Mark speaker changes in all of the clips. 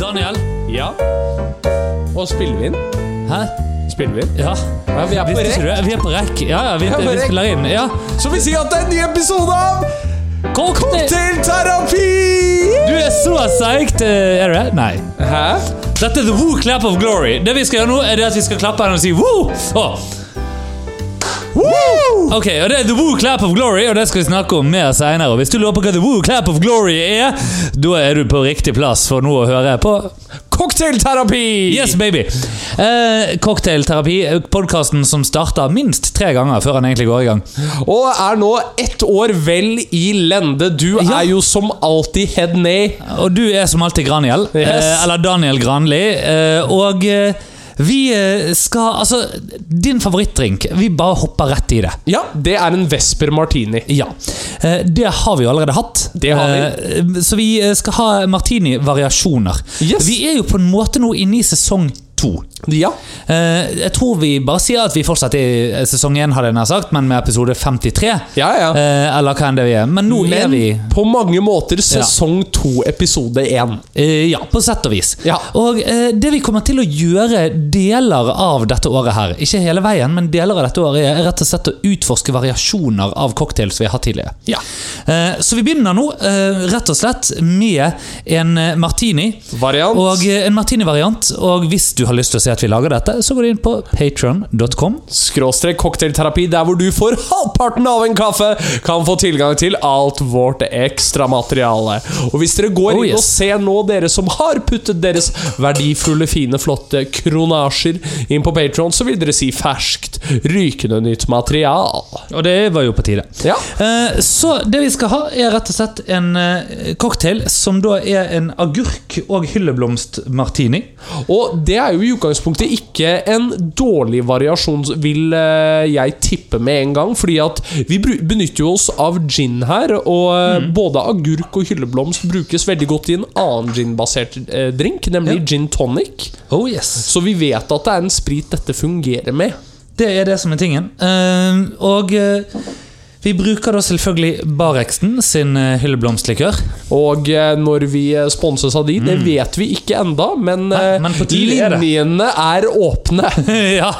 Speaker 1: Daniel.
Speaker 2: Ja. Og spiller vi inn?
Speaker 1: Hæ?
Speaker 2: Spiller vi inn?
Speaker 1: Ja.
Speaker 2: Ja, vi er på
Speaker 1: Visste ikke du
Speaker 2: rekk.
Speaker 1: det? Vi er på rekk. Ja, ja, vi,
Speaker 2: er på
Speaker 1: vi
Speaker 2: rekk.
Speaker 1: spiller inn. Ja.
Speaker 2: Så vi sier at det er en ny episode av
Speaker 1: Cocktail!
Speaker 2: Cocktailterapi!
Speaker 1: Du er så seig til Er du det? Nei.
Speaker 2: Hæ?
Speaker 1: Dette er The Woo Clap of Glory. Det vi skal gjøre nå, er det at vi skal klappe henne og si woo! Åh.
Speaker 2: Woo!
Speaker 1: Ok, og Det er The Woo Clap of Glory, og det skal vi snakke om mer senere. Og Hvis du lurer på hva The Woo Clap of Glory er, da er du på riktig plass for nå å høre på
Speaker 2: Cocktailterapi!
Speaker 1: Yes, baby! Eh, Cocktailterapi, podkasten som starter minst tre ganger før han egentlig går i gang.
Speaker 2: Og er nå ett år vel i lende. Du
Speaker 1: Ja.
Speaker 2: er jo som alltid head ned.
Speaker 1: Og du er som alltid Graniel.
Speaker 2: Yes.
Speaker 1: Eh, eller Daniel Granli. Eh, og eh, vi eh, skal Altså, din favorittdrink. Vi bare hopper rett i det.
Speaker 2: Ja, det er en Vesper Martini.
Speaker 1: Ja. Eh, Det har vi jo allerede hatt.
Speaker 2: Det har
Speaker 1: vi. Så vi eh, skal ha martini-variasjoner.
Speaker 2: Yes.
Speaker 1: Vi er jo på en måte nå inne i sesong to.
Speaker 2: Ja.
Speaker 1: Eh, Jeg tror vi bare sier at vi fortsatt er i eh, sesong én, hadde jeg nær sagt, men med episode 53.
Speaker 2: Ja, ja.
Speaker 1: Eh, Eller hva enn det vi er. Men nå er
Speaker 2: Men
Speaker 1: vi
Speaker 2: på mange måter sesong to, episode én.
Speaker 1: Eh, ja, på sett og vis.
Speaker 2: Ja.
Speaker 1: Og eh, det vi kommer til å gjøre deler av dette året her, ikke hele veien, men deler av dette året, er rett og slett å utforske variasjoner av cocktails vi har hatt tidligere.
Speaker 2: Ja.
Speaker 1: Eh, så vi begynner nå eh, rett og slett med en eh, martini.
Speaker 2: Variant.
Speaker 1: Og eh, en martini-variant. Og hvis du har lyst til å se at vi lager dette, så går du inn på patron.com.
Speaker 2: Skråstrek cocktailterapi, der hvor du for halvparten av en kaffe kan få tilgang til alt vårt ekstra materiale. Og hvis dere går
Speaker 1: Oh,
Speaker 2: inn og
Speaker 1: yes.
Speaker 2: ser nå, dere som har puttet deres verdifulle, fine, flotte kronasjer inn på Patron, så vil dere si ferskt, rykende nytt material.
Speaker 1: Og det var jo på tide.
Speaker 2: Ja.
Speaker 1: Eh, Så det vi skal ha, er rett og slett en eh, cocktail som da er en agurk- og hylleblomstmartini.
Speaker 2: Og det er jo i utgangspunktet ikke en dårlig variasjon, vil eh, jeg tippe med en gang. Fordi at vi bru- benytter jo oss av gin her, og eh,
Speaker 1: Mm.
Speaker 2: både agurk og hylleblomst brukes veldig godt i en annen ginbasert eh, drink, nemlig
Speaker 1: Ja.
Speaker 2: gin tonic.
Speaker 1: Oh yes.
Speaker 2: Så vi vet at det er en sprit dette fungerer med.
Speaker 1: Det er det som er tingen. Eh, Og eh, vi bruker da selvfølgelig Barexten sin eh, hylleblomstlikør.
Speaker 2: Og eh, når vi eh, sponses av de, det vet vi ikke enda, men,
Speaker 1: Mm. Nei,
Speaker 2: eh,
Speaker 1: men på tide er det.
Speaker 2: linjene er åpne.
Speaker 1: ja,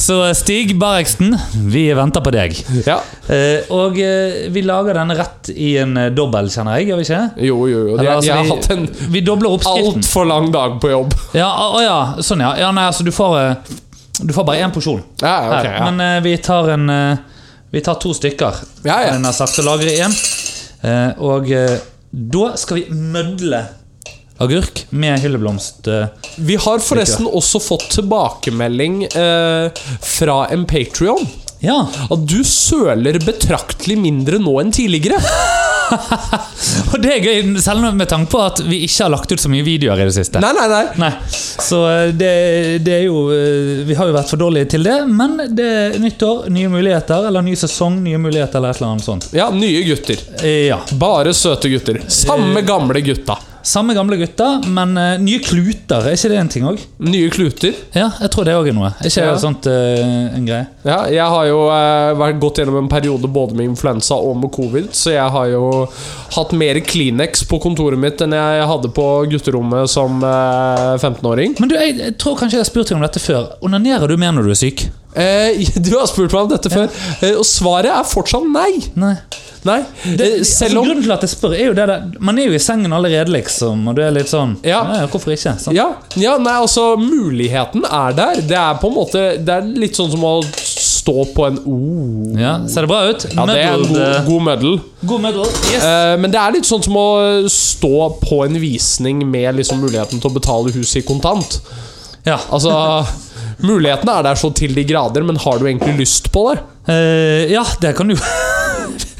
Speaker 1: så eh, Stig Barexten, vi venter på deg.
Speaker 2: ja.
Speaker 1: Eh, Og eh, vi lager denne rett i en eh, dobbel, kjenner jeg. Gjør vi ikke?
Speaker 2: Jo, jo, jo. Det,
Speaker 1: Eller, altså,
Speaker 2: jeg har
Speaker 1: vi-
Speaker 2: hatt en
Speaker 1: Vi dobler oppskriften.
Speaker 2: altfor lang dag på jobb.
Speaker 1: Ja, å, å ja, sånn ja. ja nei, altså, du, får, eh, du får bare én porsjon.
Speaker 2: Ja,
Speaker 1: Her.
Speaker 2: ok, ja.
Speaker 1: Men eh, vi tar en eh, Vi tar to stykker.
Speaker 2: Ja, ja.
Speaker 1: har jeg sagt, og lagrer én. Eh, og eh, da skal vi mødle agurk med hylleblomst. eh.
Speaker 2: Vi har forresten også fått tilbakemelding eh, fra en Patrion.
Speaker 1: ja.
Speaker 2: At du søler betraktelig mindre nå enn tidligere.
Speaker 1: Og det er gøy, selv med tanke på at vi ikke har lagt ut så mye videoer i det siste.
Speaker 2: Nei, nei, nei.
Speaker 1: Nei, Så eh, det, det er jo eh, Vi har jo vært for dårlige til det, men det er nytt år, nye muligheter, eller ny sesong, nye muligheter, eller et eller annet sånt.
Speaker 2: Ja, nye gutter.
Speaker 1: Eh, ja.
Speaker 2: Bare søte gutter. Samme gamle gutta.
Speaker 1: Samme gamle gutter, men eh, nye kluter. Er ikke det en ting òg?
Speaker 2: Nye kluter.
Speaker 1: Ja, jeg tror det òg er noe. Er ikke
Speaker 2: Ja.
Speaker 1: det sånt eh, en greie?
Speaker 2: Ja, jeg har jo eh, vært gått gjennom en periode både med influensa og med covid, så jeg har jo hatt mer Kleenex på kontoret mitt enn jeg hadde på gutterommet som eh, 15-åring.
Speaker 1: Men du, jeg, jeg tror kanskje jeg har spurt deg om dette før. Onanerer du mer når du er syk?
Speaker 2: Eh, du har spurt meg om dette før, eh, og svaret er fortsatt nei.
Speaker 1: Nei.
Speaker 2: Nei,
Speaker 1: Det,
Speaker 2: eh,
Speaker 1: altså,
Speaker 2: selv om
Speaker 1: grunnen til at jeg spør, er jo det der Man er jo i sengen allerede, liksom, og du er litt sånn
Speaker 2: Ja.
Speaker 1: ja hvorfor ikke? Sånn. Sant?
Speaker 2: ja, ja, nei, altså Muligheten er der. Det er på en måte Det er litt sånn som å stå på en O.
Speaker 1: Ja, Ser det bra ut?
Speaker 2: Ja, det er en
Speaker 1: Muddled, eh,
Speaker 2: god, god muddle.
Speaker 1: god muddle. Yes.
Speaker 2: Eh, men det er litt sånn som å stå på en visning med liksom muligheten til å betale huset i kontant.
Speaker 1: Ja.
Speaker 2: Altså Mulighetene er der så til de grader, men har du egentlig lyst på det?
Speaker 1: Eh, ja, det kan du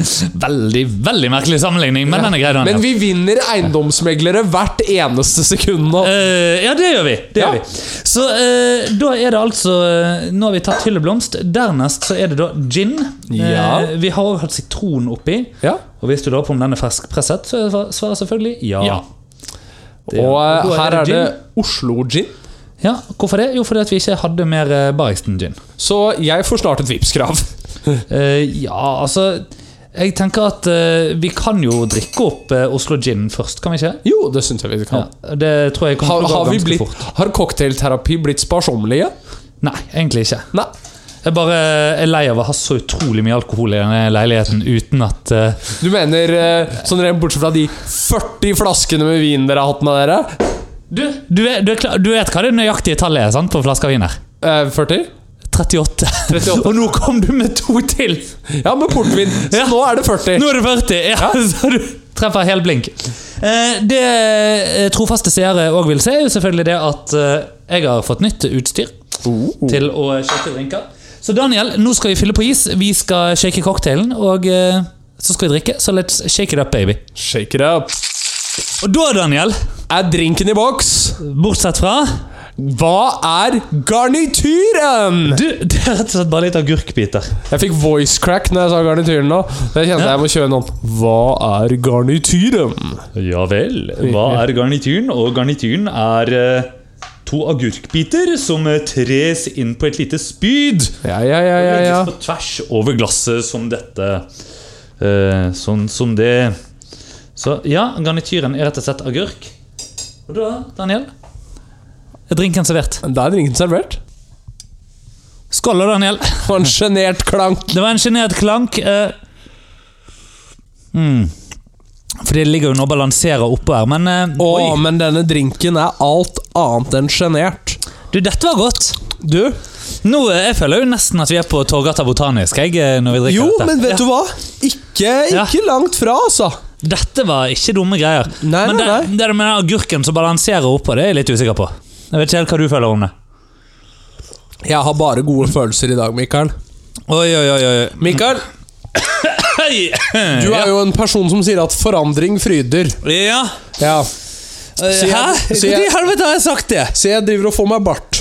Speaker 1: Veldig, veldig merkelig sammenligning, men den er grei, Daniel.
Speaker 2: Men vi vinner eiendomsmeglere hvert eneste sekund nå.
Speaker 1: Eh, ja, det gjør vi. Det gjør
Speaker 2: Ja.
Speaker 1: vi. Så eh, da er det altså eh, Nå har vi tatt hylleblomst. Dernest så er det da gin. Eh,
Speaker 2: Ja.
Speaker 1: vi har også hatt sitron oppi.
Speaker 2: Ja.
Speaker 1: Og hvis du lurer på om den er ferskpresset, så er svaret selvfølgelig ja.
Speaker 2: Ja.
Speaker 1: Det
Speaker 2: Og eh,
Speaker 1: da
Speaker 2: her er det
Speaker 1: gin.
Speaker 2: Oslo Gin.
Speaker 1: Ja, Hvorfor det? Jo, fordi at vi ikke hadde mer eh, Barrigsten gin.
Speaker 2: Så jeg får snart et Vipps-krav.
Speaker 1: Eh, ja, altså Jeg tenker at eh, vi kan jo drikke opp eh, Oslo Gin først, kan vi ikke?
Speaker 2: Jo, det syns jeg vi
Speaker 1: Ja,
Speaker 2: kan.
Speaker 1: det tror jeg kommer
Speaker 2: Har,
Speaker 1: til å gå
Speaker 2: har, vi
Speaker 1: ganske
Speaker 2: blitt,
Speaker 1: fort.
Speaker 2: har cocktailterapi blitt sparsommelig?
Speaker 1: Nei, egentlig ikke.
Speaker 2: Nei.
Speaker 1: Jeg bare er lei av å ha så utrolig mye alkohol i denne leiligheten uten at eh,
Speaker 2: Du mener eh, sånn rent bortsett fra de 40 flaskene med vin dere har hatt med dere?
Speaker 1: du, du, er, du, er klar, du vet hva det nøyaktige tallet er sant, på en flaske vin her?
Speaker 2: Eh, 40?
Speaker 1: 38.
Speaker 2: 38.
Speaker 1: Og nå kom du med to til!
Speaker 2: Ja, med portvin. Så
Speaker 1: Ja.
Speaker 2: nå er det 40.
Speaker 1: Nå er det 40! Ja, så du treffer helt blink. Eh, det eh, trofaste seere òg vil se, er jo selvfølgelig det at eh, jeg har fått nytt utstyr. til å shake drinker. Så Daniel, nå skal vi fylle på is. Vi skal shake cocktailen, og eh, så skal vi drikke. Så let's shake it up, baby.
Speaker 2: Shake it up.
Speaker 1: Og da, Daniel,
Speaker 2: Er drinken i boks?
Speaker 1: bortsett fra
Speaker 2: Hva er garnityren?
Speaker 1: Du, det er rett og slett bare litt agurkbiter.
Speaker 2: Jeg fikk voice crack når jeg sa garnityren nå. Jeg kjente jeg må kjøre noen Hva er garnityren?
Speaker 1: Ja vel. Hva er garnityren? Og garnityren er eh, to agurkbiter som eh, tres inn på et lite spyd.
Speaker 2: Ja, ja, ja, ja, ja.
Speaker 1: Legges på tvers over glasset som dette. Eh, sånn som det. Så ja, garnityren er rett og slett agurk. Og da, Daniel, er drinken servert.
Speaker 2: Da er drinken servert.
Speaker 1: Skål da, Daniel.
Speaker 2: Og en sjenert klank.
Speaker 1: Det var en sjenert klank. Eh. Mm. For det ligger jo nå og balanserer oppå her, men eh,
Speaker 2: Å,
Speaker 1: oi.
Speaker 2: men denne drinken er alt annet enn sjenert.
Speaker 1: Du, dette var godt.
Speaker 2: Du?
Speaker 1: Nå, eh, Jeg føler jo nesten at vi er på Torgata Botanisk jeg, eh, når vi drikker
Speaker 2: Jo,
Speaker 1: dette.
Speaker 2: men vet du hva? Ikke,
Speaker 1: Ja.
Speaker 2: ikke langt fra, altså.
Speaker 1: Dette var ikke dumme greier.
Speaker 2: Nei,
Speaker 1: Men
Speaker 2: nei,
Speaker 1: det, det der med den agurken som balanserer oppå, det er jeg litt usikker på. Jeg vet ikke helt hva du føler om det.
Speaker 2: Jeg har bare gode følelser i dag, Mikael.
Speaker 1: Oi, oi, oi, oi.
Speaker 2: Mikael, du er jo en person som sier at forandring fryder.
Speaker 1: Ja.
Speaker 2: Ja.
Speaker 1: Eh,
Speaker 2: jeg-
Speaker 1: Hæ?
Speaker 2: så jeg-
Speaker 1: Når i helvete har jeg sagt det?
Speaker 2: Se, jeg driver og får meg bart.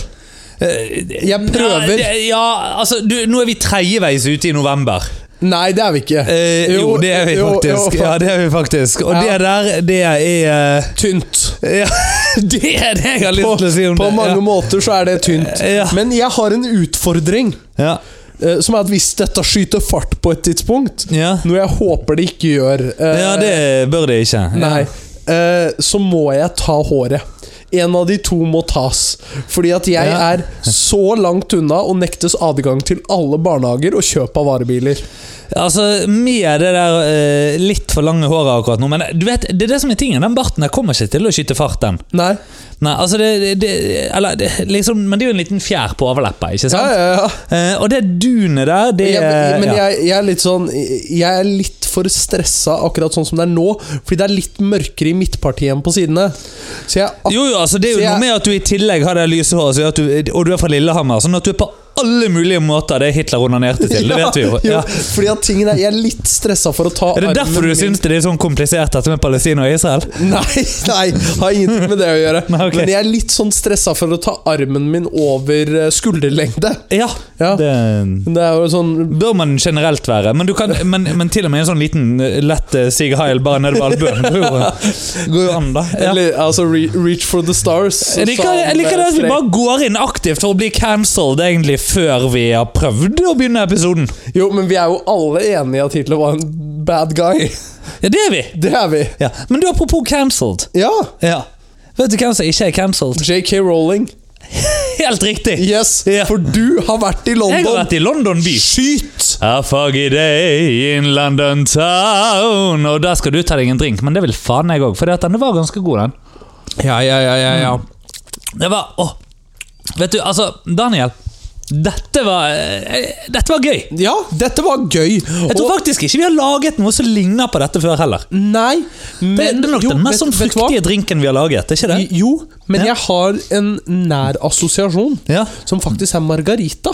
Speaker 2: Eh, Jeg
Speaker 1: Ja,
Speaker 2: prøver.
Speaker 1: det- ja, altså, du, nå er vi tredjeveis ute i november.
Speaker 2: Nei, det er vi ikke.
Speaker 1: Eh, jo, det er vi
Speaker 2: jo,
Speaker 1: faktisk.
Speaker 2: jo.
Speaker 1: Ja, det er vi faktisk. Og
Speaker 2: Ja.
Speaker 1: det der, det er eh,
Speaker 2: Tynt.
Speaker 1: ja, Det er det jeg har
Speaker 2: På,
Speaker 1: lyst til å si om
Speaker 2: på
Speaker 1: det.
Speaker 2: mange måter så er det tynt.
Speaker 1: Ja.
Speaker 2: Men jeg har en utfordring.
Speaker 1: ja.
Speaker 2: eh, Som er at hvis dette skyter fart på et tidspunkt,
Speaker 1: Ja.
Speaker 2: noe jeg håper det ikke gjør
Speaker 1: Ja.
Speaker 2: eh,
Speaker 1: ja, det bør det ikke. Ja.
Speaker 2: Nei. Eh, så må jeg ta håret. En av de to må tas. Fordi at jeg
Speaker 1: Ja.
Speaker 2: er så langt unna og nektes adgang til alle barnehager og kjøp av varebiler.
Speaker 1: Altså, Med det der eh, litt for lange håret akkurat nå, men du vet, det er det som er tingen. Den barten der kommer ikke til å skyte fart, den.
Speaker 2: Nei.
Speaker 1: Nei, altså det, det, det, eller, det liksom, Men det er jo en liten fjær på overleppa, ikke
Speaker 2: Ja,
Speaker 1: sant?
Speaker 2: ja, ja.
Speaker 1: Eh, og det dunet der, det
Speaker 2: Jeg, men
Speaker 1: ja.
Speaker 2: jeg, jeg er litt sånn Jeg er litt for stressa akkurat sånn som det er nå, fordi det er litt mørkere i midtpartiet enn på sidene. Så jeg er
Speaker 1: Jo, jo, altså Det er
Speaker 2: Så
Speaker 1: jo
Speaker 2: jeg-
Speaker 1: noe med at du i tillegg har det lyse håret, så gjør at du, og du er fra Lillehammer. Sånn at du er på alle mulige måter det Hitler onanerte til. Det vet vi jo.
Speaker 2: Ja,
Speaker 1: Ja.
Speaker 2: Fordi at tingen er, Jeg er litt stressa for å ta
Speaker 1: Er det derfor du
Speaker 2: min-
Speaker 1: syns det er sånn komplisert dette med Palestina og Israel?
Speaker 2: Nei, nei, har ingenting med det å gjøre.
Speaker 1: Nei, ok.
Speaker 2: Men jeg er litt sånn stressa for å ta armen min over eh, skulderlengde.
Speaker 1: Ja,
Speaker 2: Ja.
Speaker 1: det
Speaker 2: Det er jo sånn
Speaker 1: bør man generelt være. Men, du kan, men, men til og med en sånn liten eh, lett eh, Sig Heil bare nede ved albuen. Det går jo- eh, Går jo an, da. Ja.
Speaker 2: eller, Altså, re, reach for the stars. sånn, eh,
Speaker 1: Jeg liker, jeg liker det at vi bare går inn aktivt for å bli cancelled egentlig før vi har prøvd å begynne episoden.
Speaker 2: Jo, men vi er jo alle enige at Hitler var en bad guy.
Speaker 1: Ja, det er vi!
Speaker 2: Det er vi.
Speaker 1: Ja. Men du, apropos cancelled.
Speaker 2: Ja.
Speaker 1: Ja. Vet du hvem som ikke er cancelled?
Speaker 2: JK Rowling.
Speaker 1: Helt riktig!
Speaker 2: Yes,
Speaker 1: Ja.
Speaker 2: for du har vært i London.
Speaker 1: Jeg har vært i London by.
Speaker 2: Skyt!
Speaker 1: A foggy day in London town Og der skal du ta deg en drink, men det vil faen jeg òg. For den var ganske god, den.
Speaker 2: Ja, ja, ja, ja, ja.
Speaker 1: Det var Åh. Vet du, altså, Daniel. Dette var eh, Dette var gøy.
Speaker 2: Ja, dette var gøy.
Speaker 1: Jeg tror faktisk ikke vi har laget noe som ligner på dette før heller.
Speaker 2: Nei, men
Speaker 1: Det, det er nok
Speaker 2: jo,
Speaker 1: den mest
Speaker 2: vet-
Speaker 1: sånn
Speaker 2: vet du hva?
Speaker 1: fruktige drinken vi har laget. er ikke det?
Speaker 2: Jo, men
Speaker 1: Ja.
Speaker 2: jeg har en nær assosiasjon.
Speaker 1: Ja.
Speaker 2: Som faktisk er margarita.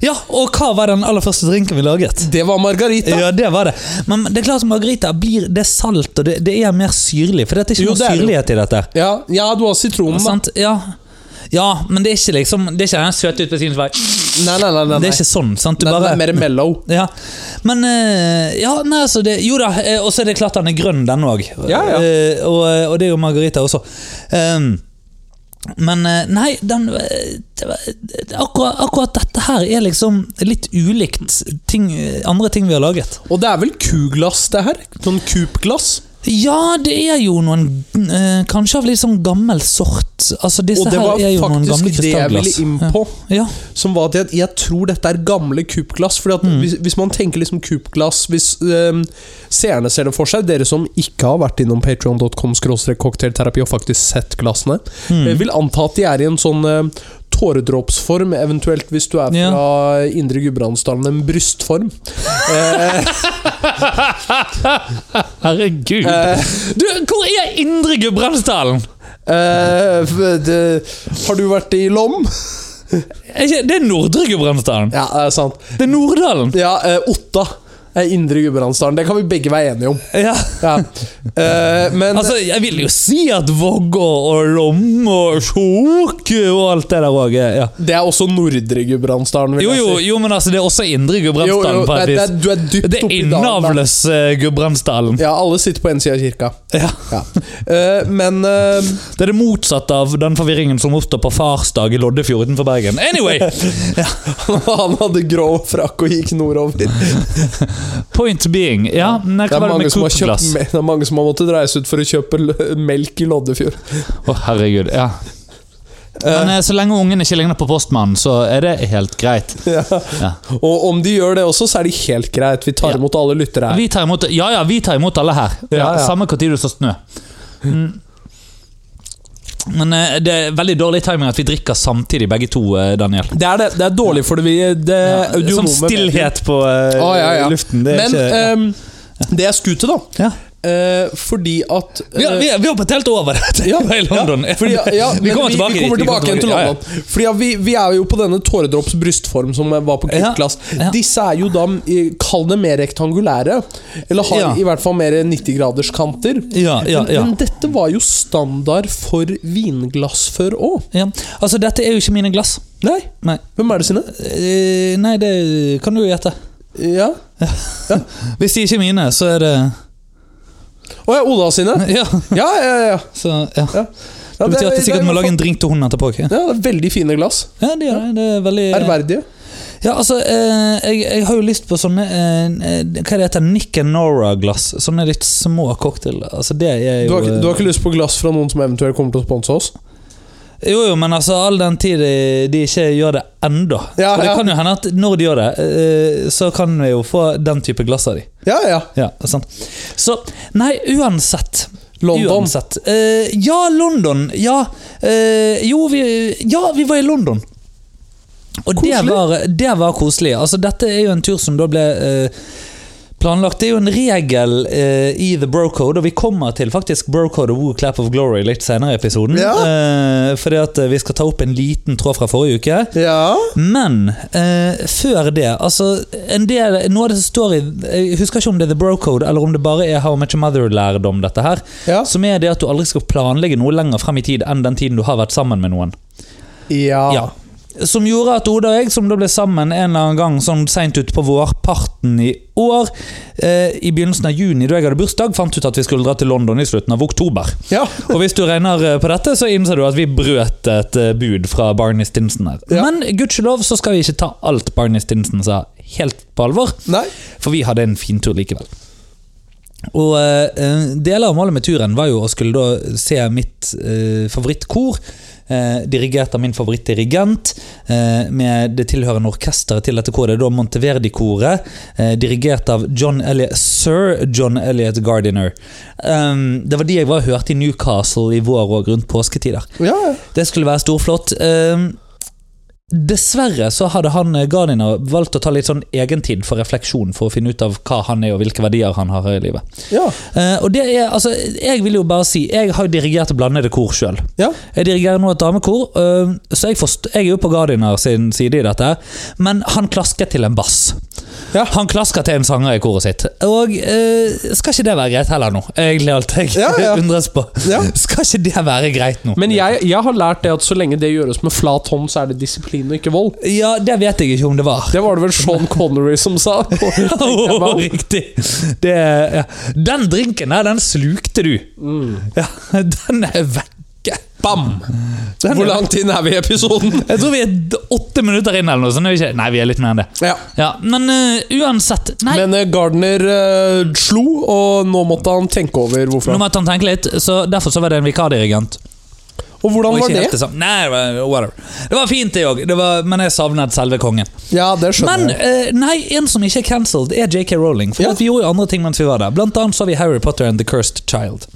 Speaker 1: ja, Og hva var den aller første drinken vi laget?
Speaker 2: Det var margarita.
Speaker 1: Ja, det var det. Men det er klart margarita blir det er salt, og det, det er mer syrlig. For det er ikke
Speaker 2: Jo,
Speaker 1: noe
Speaker 2: det er det jo.
Speaker 1: syrlighet i dette.
Speaker 2: Ja, ja du har sitronen, da.
Speaker 1: Sant? Ja. ja, men det er ikke liksom Det er ikke den søte ut på sin vei.
Speaker 2: Nei, nei, nei. nei,
Speaker 1: Det
Speaker 2: nei.
Speaker 1: er ikke sånn. sant? Du
Speaker 2: Nei,
Speaker 1: bare,
Speaker 2: den er mer mellow.
Speaker 1: ja. Men eh, Ja, nei, altså det, Jo da, eh, og så er det klart den eh, er grønn, den òg.
Speaker 2: Ja, ja.
Speaker 1: og, og det er jo margarita også. Ehm, Men eh, nei, den eh, det var- det- akkurat, akkurat dette her er liksom litt ulikt ting, eh, andre ting vi har laget.
Speaker 2: Og det er vel kuglass, det her? Sånn kupglass?
Speaker 1: Ja, det er jo noen eh, Kanskje av litt sånn gammel sort. Altså, disse
Speaker 2: Og det
Speaker 1: her
Speaker 2: var
Speaker 1: er jo noen gamle
Speaker 2: faktisk det jeg ville
Speaker 1: krystallglass.
Speaker 2: inn på.
Speaker 1: Ja.
Speaker 2: Som var at jeg, jeg tror dette er gamle kupglass. Fordi at hvis, hvis man tenker liksom kupglass Hvis øhm, seerne ser det for seg, dere som ikke har vært innom patreon.com cocktailterapi og faktisk sett glassene, eh, vil anta at de er i en sånn øhm, tåredråpsform, eventuelt hvis du er fra Indre Gudbrandsdalen, en brystform.
Speaker 1: Herregud. Du, hvor er Indre Gudbrandsdalen?
Speaker 2: Eh, f- det, har du vært i Lom?
Speaker 1: Er ikke- Det er Nordre Gudbrandsdalen.
Speaker 2: Ja, det er sant.
Speaker 1: Det er Norddalen.
Speaker 2: Ja, eh, Otta er Indre Gudbrandsdalen. Det kan vi begge være enige om.
Speaker 1: Ja.
Speaker 2: Ja. Eh, men
Speaker 1: Altså, jeg vil jo si at Vågå og Lom og Skjok og alt det der òg er ja.
Speaker 2: Det er også Nordre Gudbrandsdalen. vil
Speaker 1: Jo,
Speaker 2: jeg
Speaker 1: jo,
Speaker 2: si.
Speaker 1: jo, men altså, det er også Indre
Speaker 2: Jo, jo,
Speaker 1: Gudbrandsdalen. på et
Speaker 2: det, er- det,
Speaker 1: vis.
Speaker 2: er- du er dypt
Speaker 1: Det er
Speaker 2: oppi dalen. da.
Speaker 1: innavles eh, Gudbrandsdalen.
Speaker 2: Ja, alle sitter på en side av kirka.
Speaker 1: Ja.
Speaker 2: Ja. Eh, men eh,
Speaker 1: Det er det motsatte av den forvirringen som oppstår på farsdag i Loddefjord utenfor Bergen. Anyway,
Speaker 2: han hadde grå frakk og gikk nordover.
Speaker 1: point being Ja, nei, hva
Speaker 2: Det
Speaker 1: var
Speaker 2: er,
Speaker 1: det
Speaker 2: mange
Speaker 1: med
Speaker 2: som har kjøpt,
Speaker 1: Coop-glass?
Speaker 2: me- det er mange som har måttet reise ut for å kjøpe l- melk i Loddefjord.
Speaker 1: Å, herregud. Ja. Men eh, så lenge ungen ikke ligner på postmannen, så er det helt greit.
Speaker 2: Ja.
Speaker 1: Ja.
Speaker 2: Og om de gjør det også, så er det helt greit. Vi tar
Speaker 1: Ja.
Speaker 2: imot alle lyttere her.
Speaker 1: Vi tar imot, ja, ja, vi tar imot alle her. Ja,
Speaker 2: Ja, ja.
Speaker 1: Samme hvor tid du så snø. Mm. Men eh, det er veldig dårlig timing at vi drikker samtidig, begge to, eh, Daniel.
Speaker 2: Det er, det, det er dårlig for det, vi, det
Speaker 1: Som
Speaker 2: autonome medier.
Speaker 1: stillhet på eh,
Speaker 2: Å, ja, ja.
Speaker 1: luften. Det er
Speaker 2: Men
Speaker 1: ikke,
Speaker 2: eh, det jeg skulle til, da
Speaker 1: ja.
Speaker 2: eh, Fordi at
Speaker 1: Vi, har,
Speaker 2: eh,
Speaker 1: vi, har, vi har betalt over dette
Speaker 2: Ja,
Speaker 1: i London.
Speaker 2: Ja, fordi, ja,
Speaker 1: vi
Speaker 2: men
Speaker 1: kommer tilbake
Speaker 2: vi, vi
Speaker 1: dit,
Speaker 2: kommer
Speaker 1: vi
Speaker 2: tilbake igjen til
Speaker 1: ja, ja.
Speaker 2: London. Fordi ja, vi, vi er jo på denne tåredropps brystform som var på
Speaker 1: Ja,
Speaker 2: kuttklass.
Speaker 1: ja.
Speaker 2: Disse er jo da, eh, kall det mer rektangulære. Eller har
Speaker 1: Ja.
Speaker 2: i hvert fall mer 90-graderskanter.
Speaker 1: Ja, ja, ja.
Speaker 2: Men, men dette var jo standard for vinglass før òg.
Speaker 1: Ja. Altså, dette er jo ikke mine glass.
Speaker 2: Nei,
Speaker 1: Nei,
Speaker 2: hvem er det sine?
Speaker 1: Eh, nei det kan du jo gjette.
Speaker 2: Ja.
Speaker 1: Hvis de ikke er mine, så er det
Speaker 2: Å ja, Oda sine.
Speaker 1: Ja,
Speaker 2: Ja, ja, ja. ja.
Speaker 1: så, ja.
Speaker 2: Ja,
Speaker 1: Det betyr at
Speaker 2: det
Speaker 1: jeg sikkert
Speaker 2: er
Speaker 1: må
Speaker 2: i hvert
Speaker 1: lage en
Speaker 2: fall-
Speaker 1: drink til hun etterpå. ikke?
Speaker 2: ja, det er Veldig fine glass.
Speaker 1: Ja, det gjør jeg. Det er veldig
Speaker 2: Ærverdige.
Speaker 1: Ja, altså, eh, jeg, jeg har jo lyst på sånne eh, eh, Hva er det heter Nick and Nora-glass. Sånne litt små cocktail. Altså, det er
Speaker 2: Du
Speaker 1: jo
Speaker 2: har, ikke- du
Speaker 1: eh,
Speaker 2: har ikke lyst på glass fra noen som eventuelt kommer til å sponse oss?
Speaker 1: Jo, jo, men altså, all den tid de, de ikke gjør det ennå.
Speaker 2: Ja,
Speaker 1: For det
Speaker 2: ja.
Speaker 1: kan jo hende at når de gjør det, eh, så kan vi jo få den type glass av de.
Speaker 2: Ja, ja.
Speaker 1: Ja, sant. Så Nei, uansett.
Speaker 2: London.
Speaker 1: Uansett. Eh, ja, London. Ja. eh, jo, vi Ja, vi var i London. Og det
Speaker 2: Koselig.
Speaker 1: var, det var koselig. Altså, dette er jo en tur som da ble eh, planlagt. Det er jo en regel eh, i The Bro Code, og vi kommer til faktisk Bro Code og Woo Clap of Glory litt senere i episoden.
Speaker 2: Ja.
Speaker 1: Eh, fordi at eh, vi skal ta opp en liten tråd fra forrige uke.
Speaker 2: Ja.
Speaker 1: Men eh, før det altså, en del, Noe av det som står i Jeg husker ikke om det er The Bro Code eller om det bare er How Much Mother-lærdom. dette her
Speaker 2: Ja.
Speaker 1: Som er det at du aldri skal planlegge noe lenger frem i tid enn den tiden du har vært sammen med noen.
Speaker 2: Ja.
Speaker 1: Ja. Som gjorde at Oda og jeg, som da ble sammen en eller annen gang sånn seint utpå vårparten i år, eh, i begynnelsen av juni, da jeg hadde bursdag, fant ut at vi skulle dra til London i slutten av oktober.
Speaker 2: Ja.
Speaker 1: Og hvis du regner eh, på dette, så innser du at vi brøt et eh, bud fra Barney Stinson her.
Speaker 2: Ja.
Speaker 1: Men gudskjelov så skal vi ikke ta alt Barney Stinson sa helt på alvor,
Speaker 2: Nei.
Speaker 1: for vi hadde en fin tur likevel. Og eh, eh, deler av målet med turen var jo å skulle da se mitt eh, favorittkor. Eh, dirigert av min favorittdirigent, eh, med det tilhørende orkesteret til dette koret. Da Monteverdi-koret, eh, dirigert av John Elliot, sir John Elliot Gardiner. Um, det var de jeg var og hørte i Newcastle i vår og rundt påsketider.
Speaker 2: Ja, ja.
Speaker 1: Det skulle være storflott. Ehm, Dessverre så hadde han eh, Gardiner valgt å ta litt sånn egentid for refleksjon for å finne ut av hva han er og hvilke verdier han har her i livet.
Speaker 2: Ja.
Speaker 1: Eh, og det er, altså, Jeg vil jo bare si, jeg har jo dirigert blandede kor sjøl.
Speaker 2: Ja.
Speaker 1: Jeg dirigerer nå et damekor, eh, så jeg, forst jeg er jo på Gardiner sin side i dette. her. Men han klasker til en bass.
Speaker 2: Ja.
Speaker 1: Han klasker til en sanger i koret sitt. Og eh, skal ikke det være greit heller nå? Egentlig alt jeg
Speaker 2: Ja, ja.
Speaker 1: undres på.
Speaker 2: Ja.
Speaker 1: Skal ikke det være greit nå?
Speaker 2: Men jeg, jeg har lært det at så lenge det gjøres med flat hånd, så er det disiplin og ikke vold.
Speaker 1: Ja, det vet jeg ikke om det var.
Speaker 2: Det var det vel Sean Connery som sa.
Speaker 1: Åh, riktig!
Speaker 2: Mm.
Speaker 1: Det, ja. Den drinken her, den slukte du. Ja, den er vekke.
Speaker 2: ikke. Bam! Hvor langt inn er vi i episoden?
Speaker 1: Jeg tror vi er d- åtte minutter inn, eller noe sånt. er vi ikke? Nei, vi er litt mer enn det.
Speaker 2: Ja.
Speaker 1: Ja, Men eh, uansett Nei,
Speaker 2: Men eh, Gardner eh, slo, og nå måtte han tenke over hvorfor.
Speaker 1: nå
Speaker 2: han-
Speaker 1: måtte han tenke litt, så derfor så var det en vikardirigent.
Speaker 2: Og hvordan
Speaker 1: Og
Speaker 2: var
Speaker 1: ikke helt
Speaker 2: det?
Speaker 1: det samme. Nei, det var- whatever. Det var fint, det òg, men jeg savnet selve kongen.
Speaker 2: Ja, det skjønner
Speaker 1: Men
Speaker 2: jeg.
Speaker 1: eh, nei, en som ikke er cancelled, er JK Rowling. For
Speaker 2: Ja.
Speaker 1: at vi gjorde jo andre ting mens vi var der. Blant annet så vi Harry Potter and The Cursed Child.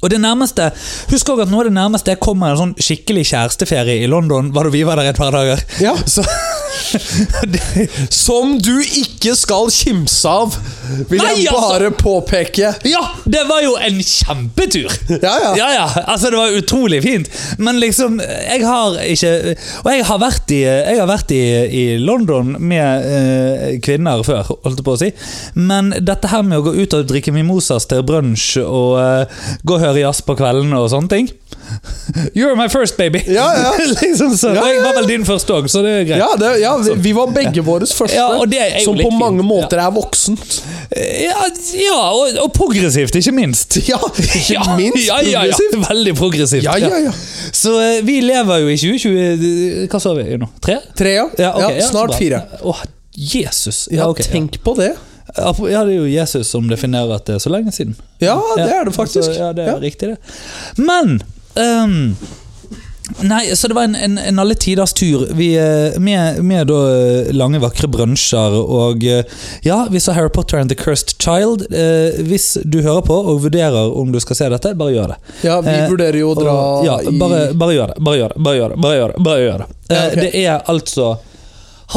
Speaker 1: Og det nærmeste Husk også at noe av det nærmeste jeg kom med en sånn skikkelig kjæresteferie i London, var da vi var der et par dager.
Speaker 2: Ja.
Speaker 1: Så det,
Speaker 2: Som du ikke skal kimse av, vil
Speaker 1: Nei,
Speaker 2: jeg
Speaker 1: altså!
Speaker 2: bare påpeke.
Speaker 1: Ja, det var jo en kjempetur!
Speaker 2: Ja, ja.
Speaker 1: ja, Altså, det var utrolig fint. Men liksom, jeg har ikke Og jeg har vært i, jeg har vært i, i London med eh, kvinner før, holdt jeg på å si. Men dette her med å gå ut og drikke mimosas til brunsj og eh, gå og høre jazz på kveldene og sånne ting You're my first baby!
Speaker 2: Ja, ja.
Speaker 1: liksom så.
Speaker 2: Ja,
Speaker 1: Og
Speaker 2: ja,
Speaker 1: jeg var vel din første òg, så det er greit.
Speaker 2: Ja, det, ja vi, vi var begge våres første,
Speaker 1: Ja, og det er jo
Speaker 2: som
Speaker 1: litt
Speaker 2: på mange
Speaker 1: fint.
Speaker 2: måter er voksent.
Speaker 1: Ja, ja og, og progressivt, ikke minst.
Speaker 2: Ja, ikke minst
Speaker 1: ja, ja, ja.
Speaker 2: progressivt.
Speaker 1: Veldig progressivt.
Speaker 2: Ja, ja, ja.
Speaker 1: Så eh, vi lever jo i 2020 Hva sa vi nå? Tre?
Speaker 2: Tre, ja.
Speaker 1: Ja, ok,
Speaker 2: ja,
Speaker 1: så
Speaker 2: snart
Speaker 1: bra.
Speaker 2: fire.
Speaker 1: Åh, Jesus.
Speaker 2: Ja,
Speaker 1: Ja, ok, ja.
Speaker 2: tenk på det.
Speaker 1: Apo- ja, det er jo Jesus som definerer at det er så lenge siden.
Speaker 2: Ja,
Speaker 1: Ja,
Speaker 2: det er det faktisk.
Speaker 1: Så, ja, det er
Speaker 2: Ja.
Speaker 1: riktig, det. Men ehm, Nei, så det var en, en, en alle tiders tur. Vi, eh, med med da, eh, lange, vakre brunsjer og eh, Ja, vi så Harry Potter and The Cursed Child. Eh, hvis du hører på og vurderer om du skal se dette, bare gjør det.
Speaker 2: Ja, vi
Speaker 1: Eh,
Speaker 2: vurderer jo å dra
Speaker 1: Og- ja,
Speaker 2: i
Speaker 1: bare, bare gjør det. Bare gjør det. Bare gjør det. Bare gjør det. Bare gjør det. Eh,
Speaker 2: Ja, ok.
Speaker 1: det er altså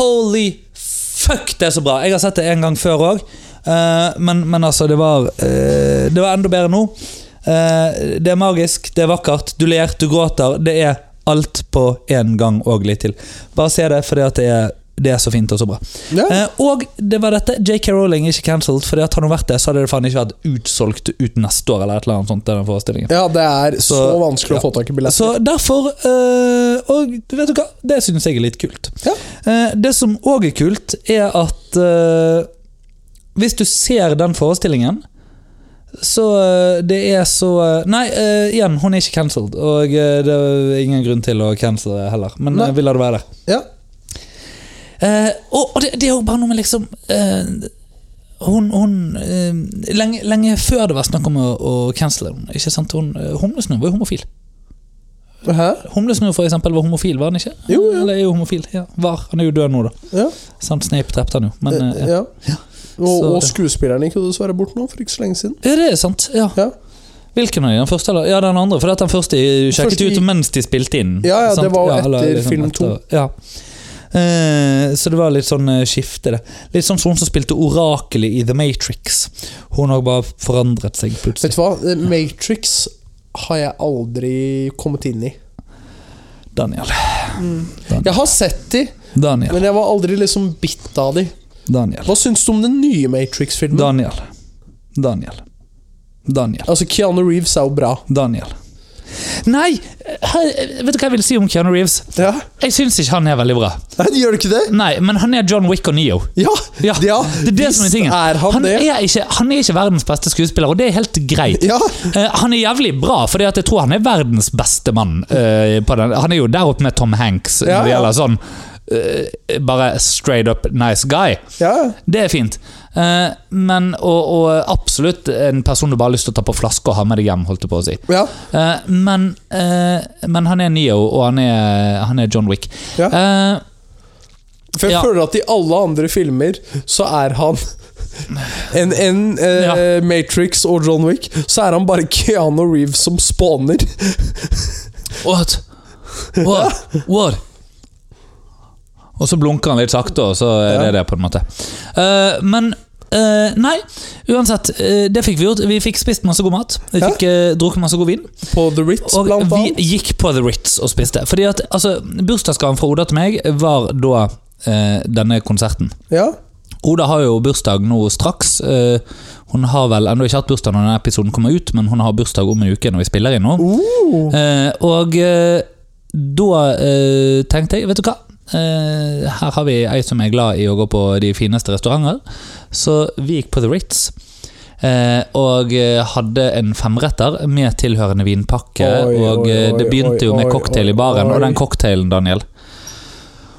Speaker 1: Holy fuck, det er så bra! Jeg har sett det en gang før òg, men, men altså, det var eh, Det var enda bedre nå. Eh, det er magisk, det er vakkert. Du ler, du gråter. Det er alt på én gang og litt til. Bare se det, fordi at det er, det er så fint og så bra.
Speaker 2: Ja.
Speaker 1: Eh, og det var dette. JK Rowling er ikke cancelled, fordi at hadde hun vært det, så hadde det faen ikke vært utsolgt ut neste år eller et eller annet sånt. Den forestillingen.
Speaker 2: Ja, det er så,
Speaker 1: Så-
Speaker 2: vanskelig
Speaker 1: ja.
Speaker 2: å få tak i billetter.
Speaker 1: Så derfor eh, Og vet du hva? Det syns jeg er litt kult.
Speaker 2: Ja.
Speaker 1: Eh, det som òg er kult, er at eh, hvis du ser den forestillingen så eh, det er så eh, Nei, eh, igjen, hun er ikke cancelled. Og eh, det er ingen grunn til å cancele heller, men
Speaker 2: Nei.
Speaker 1: jeg vil la det være der.
Speaker 2: Ja.
Speaker 1: Eh, og, og det, det er jo bare noe med liksom eh, Hun, hun eh, lenge, lenge før det var snakk om å, å cancele henne, ikke sant? Hun, eh, Humlesnø var jo homofil.
Speaker 2: Hæ?
Speaker 1: Humlesnø for eksempel var homofil, var han ikke?
Speaker 2: Jo, ja.
Speaker 1: Eller er jo homofil, ja. Var. Han er jo død nå, da.
Speaker 2: Ja.
Speaker 1: Sant, Snape drepte han jo, men eh,
Speaker 2: Eh,
Speaker 1: ja.
Speaker 2: ja. Og,
Speaker 1: Så-
Speaker 2: og skuespilleren gikk jo dessverre bort nå for ikke så lenge siden.
Speaker 1: ja, det er sant. ja.
Speaker 2: Ja,
Speaker 1: Hvilken av de? Den første, eller? Ja, den andre. For at den første sjekket
Speaker 2: Første-
Speaker 1: ut mens de spilte inn.
Speaker 2: Ja, ja, det
Speaker 1: sant?
Speaker 2: var jo
Speaker 1: eller liksom
Speaker 2: etter film to.
Speaker 1: ja. Eh, så det var litt sånn eh, skifte, det. Litt sånn som hun som spilte orakelet i The Matrix. Hun har bare forandret seg plutselig.
Speaker 2: Vet du hva? Eh, Matrix har jeg aldri kommet inn i.
Speaker 1: Daniel.
Speaker 2: Jeg har sett de,
Speaker 1: Daniel.
Speaker 2: men jeg var aldri liksom bitt av de.
Speaker 1: Daniel.
Speaker 2: Hva syns du om den nye Matrix-filmen?
Speaker 1: Daniel. Daniel. Daniel.
Speaker 2: Altså, Keanu Reeves er jo bra.
Speaker 1: Daniel. Nei! her- Vet du hva jeg vil si om Keanu Reeves?
Speaker 2: Ja.
Speaker 1: Jeg syns ikke han er veldig bra.
Speaker 2: Nei, gjør du ikke det?
Speaker 1: Nei, men han er John Wick og Neo.
Speaker 2: Ja!
Speaker 1: Ja, det er det som er
Speaker 2: visst
Speaker 1: tingen.
Speaker 2: Er han, det?
Speaker 1: Er ikke, han er ikke verdens beste skuespiller, og det er helt greit.
Speaker 2: Ja.
Speaker 1: Eh, han er jævlig bra, for jeg tror han er verdens beste mann. eh, på den. Han er jo der oppe med Tom Hanks når
Speaker 2: Ja,
Speaker 1: det
Speaker 2: ja.
Speaker 1: gjelder sånn eh, Bare straight up nice guy.
Speaker 2: Ja.
Speaker 1: Det er fint. Eh, men, og, og absolutt en person du bare har lyst til å ta på flaske og ha med deg hjem, holdt jeg på å si.
Speaker 2: ja.
Speaker 1: Eh, men, eh, men han er Neo, og han er, han er John Wick.
Speaker 2: Ja.
Speaker 1: Eh,
Speaker 2: For jeg
Speaker 1: Ja.
Speaker 2: føler at i alle andre filmer så er han en, en eh,
Speaker 1: Ja.
Speaker 2: Matrix og John Wick, så er han bare Keanu Reeves som spawner.
Speaker 1: what? What? What? Og så blunker han litt sakte, og så er det
Speaker 2: Ja.
Speaker 1: det, på en måte. Eh, men eh, Nei, uansett. eh, det fikk vi gjort. Vi fikk spist masse god mat. Vi
Speaker 2: Ja.
Speaker 1: fikk eh, drukket masse god vin.
Speaker 2: På The Ritz,
Speaker 1: Og
Speaker 2: blant
Speaker 1: vi
Speaker 2: annet.
Speaker 1: gikk på The Ritz og spiste. Fordi at altså, Bursdagsgaven fra Oda til meg var da eh, denne konserten.
Speaker 2: Ja.
Speaker 1: Oda har jo bursdag nå straks. Eh, hun har vel ennå ikke hatt bursdag når denne episoden kommer ut, men hun har bursdag om en uke når vi spiller inn nå.
Speaker 2: Uh,
Speaker 1: Eh, og eh, da eh, tenkte jeg, vet du hva? Eh, her har vi ei som er glad i å gå på de fineste restauranter, så vi gikk på The Ritz. Eh, Eh, og eh, hadde en femretter med tilhørende vinpakke.
Speaker 2: Oi,
Speaker 1: og
Speaker 2: oi,
Speaker 1: eh, det
Speaker 2: oi,
Speaker 1: begynte jo
Speaker 2: oi,
Speaker 1: med
Speaker 2: oi,
Speaker 1: cocktail i baren,
Speaker 2: oi.
Speaker 1: og den cocktailen, Daniel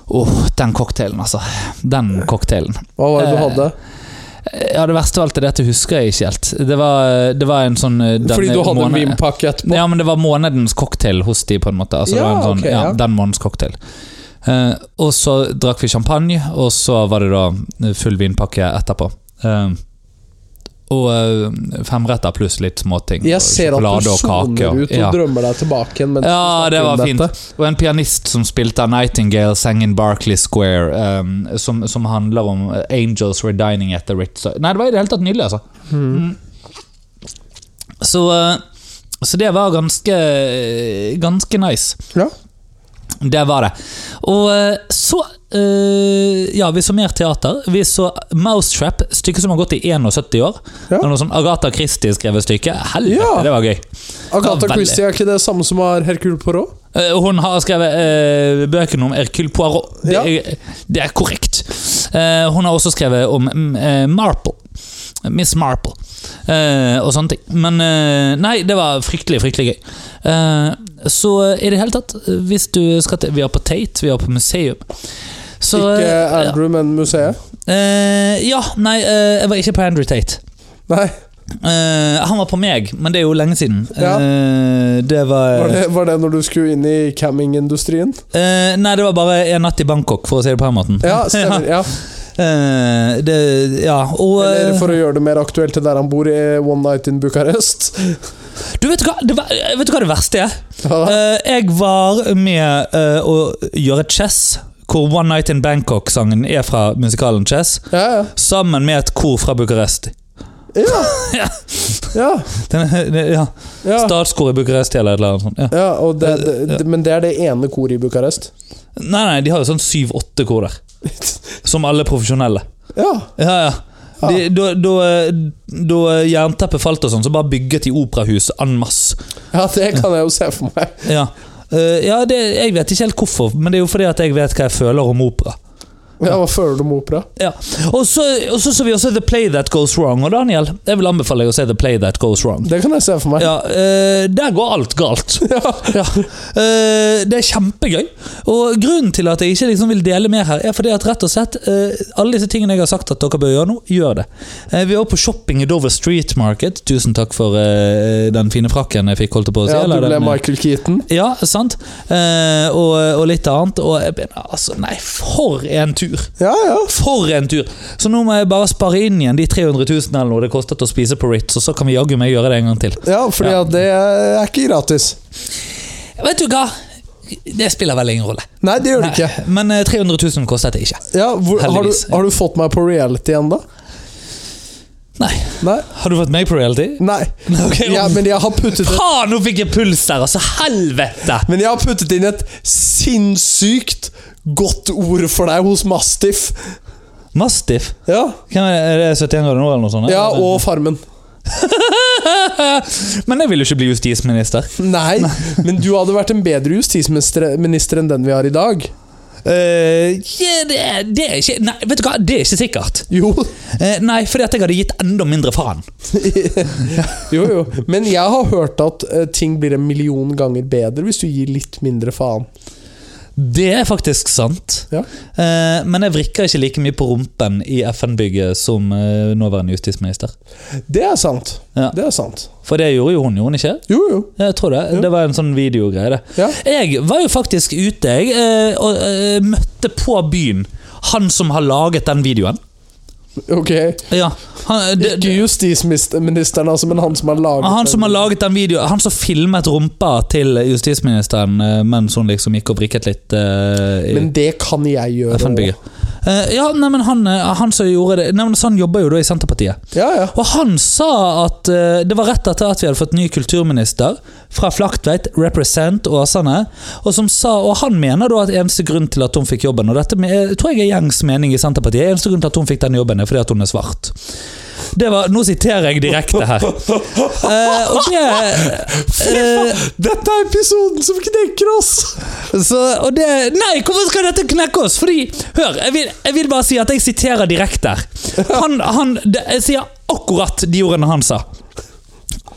Speaker 1: Åh, den cocktailen, altså. Den cocktailen.
Speaker 2: Hva var det du
Speaker 1: Eh,
Speaker 2: hadde?
Speaker 1: Ja, Det verste av alt er dette husker jeg ikke helt. Det var, det var en sånn eh, denne
Speaker 2: Fordi du hadde en
Speaker 1: måned-
Speaker 2: vinpakke etterpå?
Speaker 1: Ja, men det var månedens cocktail hos de på en måte. Altså, det
Speaker 2: Ja,
Speaker 1: var en sånn,
Speaker 2: ok,
Speaker 1: ja.
Speaker 2: ja.
Speaker 1: Den månedens cocktail. Eh, og så drakk vi champagne, og så var det da eh, full vinpakke etterpå. Eh, og eh, femretter pluss litt småting. og
Speaker 2: Jeg ser at
Speaker 1: sjokolade
Speaker 2: du
Speaker 1: og kake,
Speaker 2: soner
Speaker 1: og-
Speaker 2: ut og
Speaker 1: ja.
Speaker 2: drømmer deg tilbake igjen. mens du
Speaker 1: Ja,
Speaker 2: snakker
Speaker 1: det
Speaker 2: om
Speaker 1: var
Speaker 2: dette.
Speaker 1: fint. Og en pianist som spilte av Nightingale, sang in Barclay Square, eh, som, som handler om eh, Angels were dining at the Ritz. Nei, det var i det hele tatt nydelig, altså. Mm. Så, eh, så det var ganske, ganske nice.
Speaker 2: Ja.
Speaker 1: Det var det. Og eh, så eh, Ja, vi så mer teater. Vi så Mousetrap, stykket som har gått i 71 år.
Speaker 2: Ja.
Speaker 1: Og noe sånn Agatha Christie skrevet stykke. Helvete,
Speaker 2: Ja.
Speaker 1: det var gøy.
Speaker 2: Agatha
Speaker 1: Ja, veldig.
Speaker 2: Christie er ikke det samme som har Hercule Poirot?
Speaker 1: Eh, Hun har skrevet eh, bøkene om Hercule Poirot. Det,
Speaker 2: Ja.
Speaker 1: er, det er korrekt. Eh, hun har også skrevet om mm, eh, Marple. Miss Marple. Eh, og sånne ting. Men eh, nei, det var fryktelig, fryktelig gøy. Eh, så i det hele tatt, hvis du skal til Vi er på Tate, vi er på museum. Så,
Speaker 2: Ikke
Speaker 1: eh,
Speaker 2: Andrew, men museet?
Speaker 1: eh, ja, nei, eh, jeg var ikke på Andrew Tate.
Speaker 2: Nei,
Speaker 1: Eh, han var på meg, men det er jo lenge siden.
Speaker 2: Ja.
Speaker 1: Eh, det var,
Speaker 2: var det, var det når du skulle inn i cammingindustrien?
Speaker 1: Eh, nei, det var bare en natt i Bangkok, for å si det på den måten.
Speaker 2: Ja, stemmer. ja
Speaker 1: Eh, det, ja, og
Speaker 2: Eller
Speaker 1: eh,
Speaker 2: for å gjøre det mer aktuelt til der han bor, i One Night in Bucharest.
Speaker 1: Du, vet du, hva, det, var- eh, vet du hva det verste er?
Speaker 2: Ja,
Speaker 1: Eh, jeg var med eh, å gjøre Chess, hvor One Night in Bangkok-sangen er fra musikalen Chess,
Speaker 2: ja. ja.
Speaker 1: sammen med et kor fra Bucuresti.
Speaker 2: Ja. ja.
Speaker 1: Den, det- ja,
Speaker 2: ja.
Speaker 1: Statskor i Bucuresti eller et eller annet sånt. Ja.
Speaker 2: ja og det, det, det, men det er det ene koret i Bucharest.
Speaker 1: Nei, nei, de har jo sånn syv-åtte kor der. Som alle profesjonelle.
Speaker 2: Ja.
Speaker 1: Ja, ja.
Speaker 2: Ja.
Speaker 1: De, da, da, da jernteppet falt og sånn, så bare bygget de operahus en masse.
Speaker 2: ja, det kan jeg jo se for meg.
Speaker 1: Ja. Eh, ja, det, jeg vet ikke helt hvorfor, men det er jo fordi at jeg vet hva jeg føler om opera.
Speaker 2: Ja, Hva føler du om opera?
Speaker 1: Ja. Og så og så så vi også The Play That Goes Wrong, og Daniel, jeg vil anbefale deg å se The Play That Goes Wrong.
Speaker 2: Det kan jeg se for meg.
Speaker 1: Ja, eh, Der går alt galt. Ja. Eh, det er kjempegøy. Og grunnen til at jeg ikke liksom vil dele mer her, er fordi at rett og slett eh, alle disse tingene jeg har sagt at dere bør gjøre nå, gjør det. Eh, vi var på shopping i Dover Street Market. Tusen takk for eh, den fine frakken jeg fikk, holdt jeg på å si.
Speaker 2: Ja, du
Speaker 1: eller
Speaker 2: ble
Speaker 1: den, eh,
Speaker 2: Michael Keaton.
Speaker 1: Ja, sant. Eh, og, og litt annet. Og jeg begynner, altså, nei, for en tur!
Speaker 2: Ja, ja.
Speaker 1: For en tur! Så nå må jeg bare spare inn igjen de 300 000 eller noe det kostet å spise på Ritz, og så kan vi jaggu meg gjøre det en gang til.
Speaker 2: Ja, fordi
Speaker 1: Ja.
Speaker 2: At det er ikke gratis.
Speaker 1: Vet du hva? Det spiller vel ingen rolle.
Speaker 2: Nei, det gjør det ikke.
Speaker 1: Nei, men eh, 300 000 kostet det ikke.
Speaker 2: Ja, hvor, har, du,
Speaker 1: Heldigvis.
Speaker 2: har du fått meg på reality ennå?
Speaker 1: Nei.
Speaker 2: Nei.
Speaker 1: Har du fått meg på reality?
Speaker 2: Nei.
Speaker 1: Ok,
Speaker 2: Ja, men jeg har puttet
Speaker 1: Faen, nå fikk jeg puls der, altså! Helvete!
Speaker 2: Men jeg har puttet inn et sinnssykt godt ord for deg hos Mastiff.
Speaker 1: Mastiff?
Speaker 2: Ja,
Speaker 1: Hvem er det? Er det 71 grader nå, eller noe sånt?
Speaker 2: ja
Speaker 1: eller?
Speaker 2: og Farmen.
Speaker 1: Men jeg vil jo ikke bli justisminister.
Speaker 2: Nei, men du hadde vært en bedre justisminister minister enn den vi har i dag.
Speaker 1: Eh, ja, det, er- det er ikke Nei, vet du hva, det er ikke sikkert.
Speaker 2: Jo,
Speaker 1: Eh, nei, fordi at jeg hadde gitt enda mindre faen.
Speaker 2: jo, jo. Men jeg har hørt at eh, ting blir en million ganger bedre hvis du gir litt mindre faen.
Speaker 1: Det er faktisk sant.
Speaker 2: Ja.
Speaker 1: Eh, men jeg vrikker ikke like mye på rumpen i FN-bygget som eh, nåværende justisminister.
Speaker 2: Det er sant.
Speaker 1: Ja.
Speaker 2: Det er sant.
Speaker 1: For det gjorde jo hun, gjorde hun ikke?
Speaker 2: Jo, jo.
Speaker 1: Ja, Jeg tror det.
Speaker 2: Ja.
Speaker 1: Det var en sånn videogreie, det.
Speaker 2: Ja.
Speaker 1: Jeg var jo faktisk ute, jeg, eh, og eh, møtte på byen han som har laget den videoen.
Speaker 2: Ok.
Speaker 1: Ja, han, eh, det,
Speaker 2: Ikke justisministeren, altså, men han som har laget
Speaker 1: han som
Speaker 2: den.
Speaker 1: har laget den videoen, han som filmet rumpa til justisministeren eh, mens hun liksom gikk og vrikket litt eh, i
Speaker 2: Men det kan jeg gjøre.
Speaker 1: FN-bygget. Eh, ja, nei, men han, eh, han som gjorde det nei, men Han jobber jo da i Senterpartiet.
Speaker 2: også. Ja, ja.
Speaker 1: Og han sa at eh, det var rett etter at vi hadde fått ny kulturminister fra Flaktveit, Represent Åsane, og som sa, og han mener da at eneste grunn til at hun fikk jobben, og dette med, tror jeg er gjengs mening i Senterpartiet, eneste grunn til at hun fikk den jobben er fordi at hun er svart. Det var, nå siterer jeg direkte her. Eh, og det, eh,
Speaker 2: Dette er episoden som knekker oss!
Speaker 1: så, og det Nei, hvorfor skal dette knekke oss? Fordi, hør, jeg vil, jeg vil bare si at jeg siterer direkte her. Han, han det, Jeg sier akkurat de ordene han sa.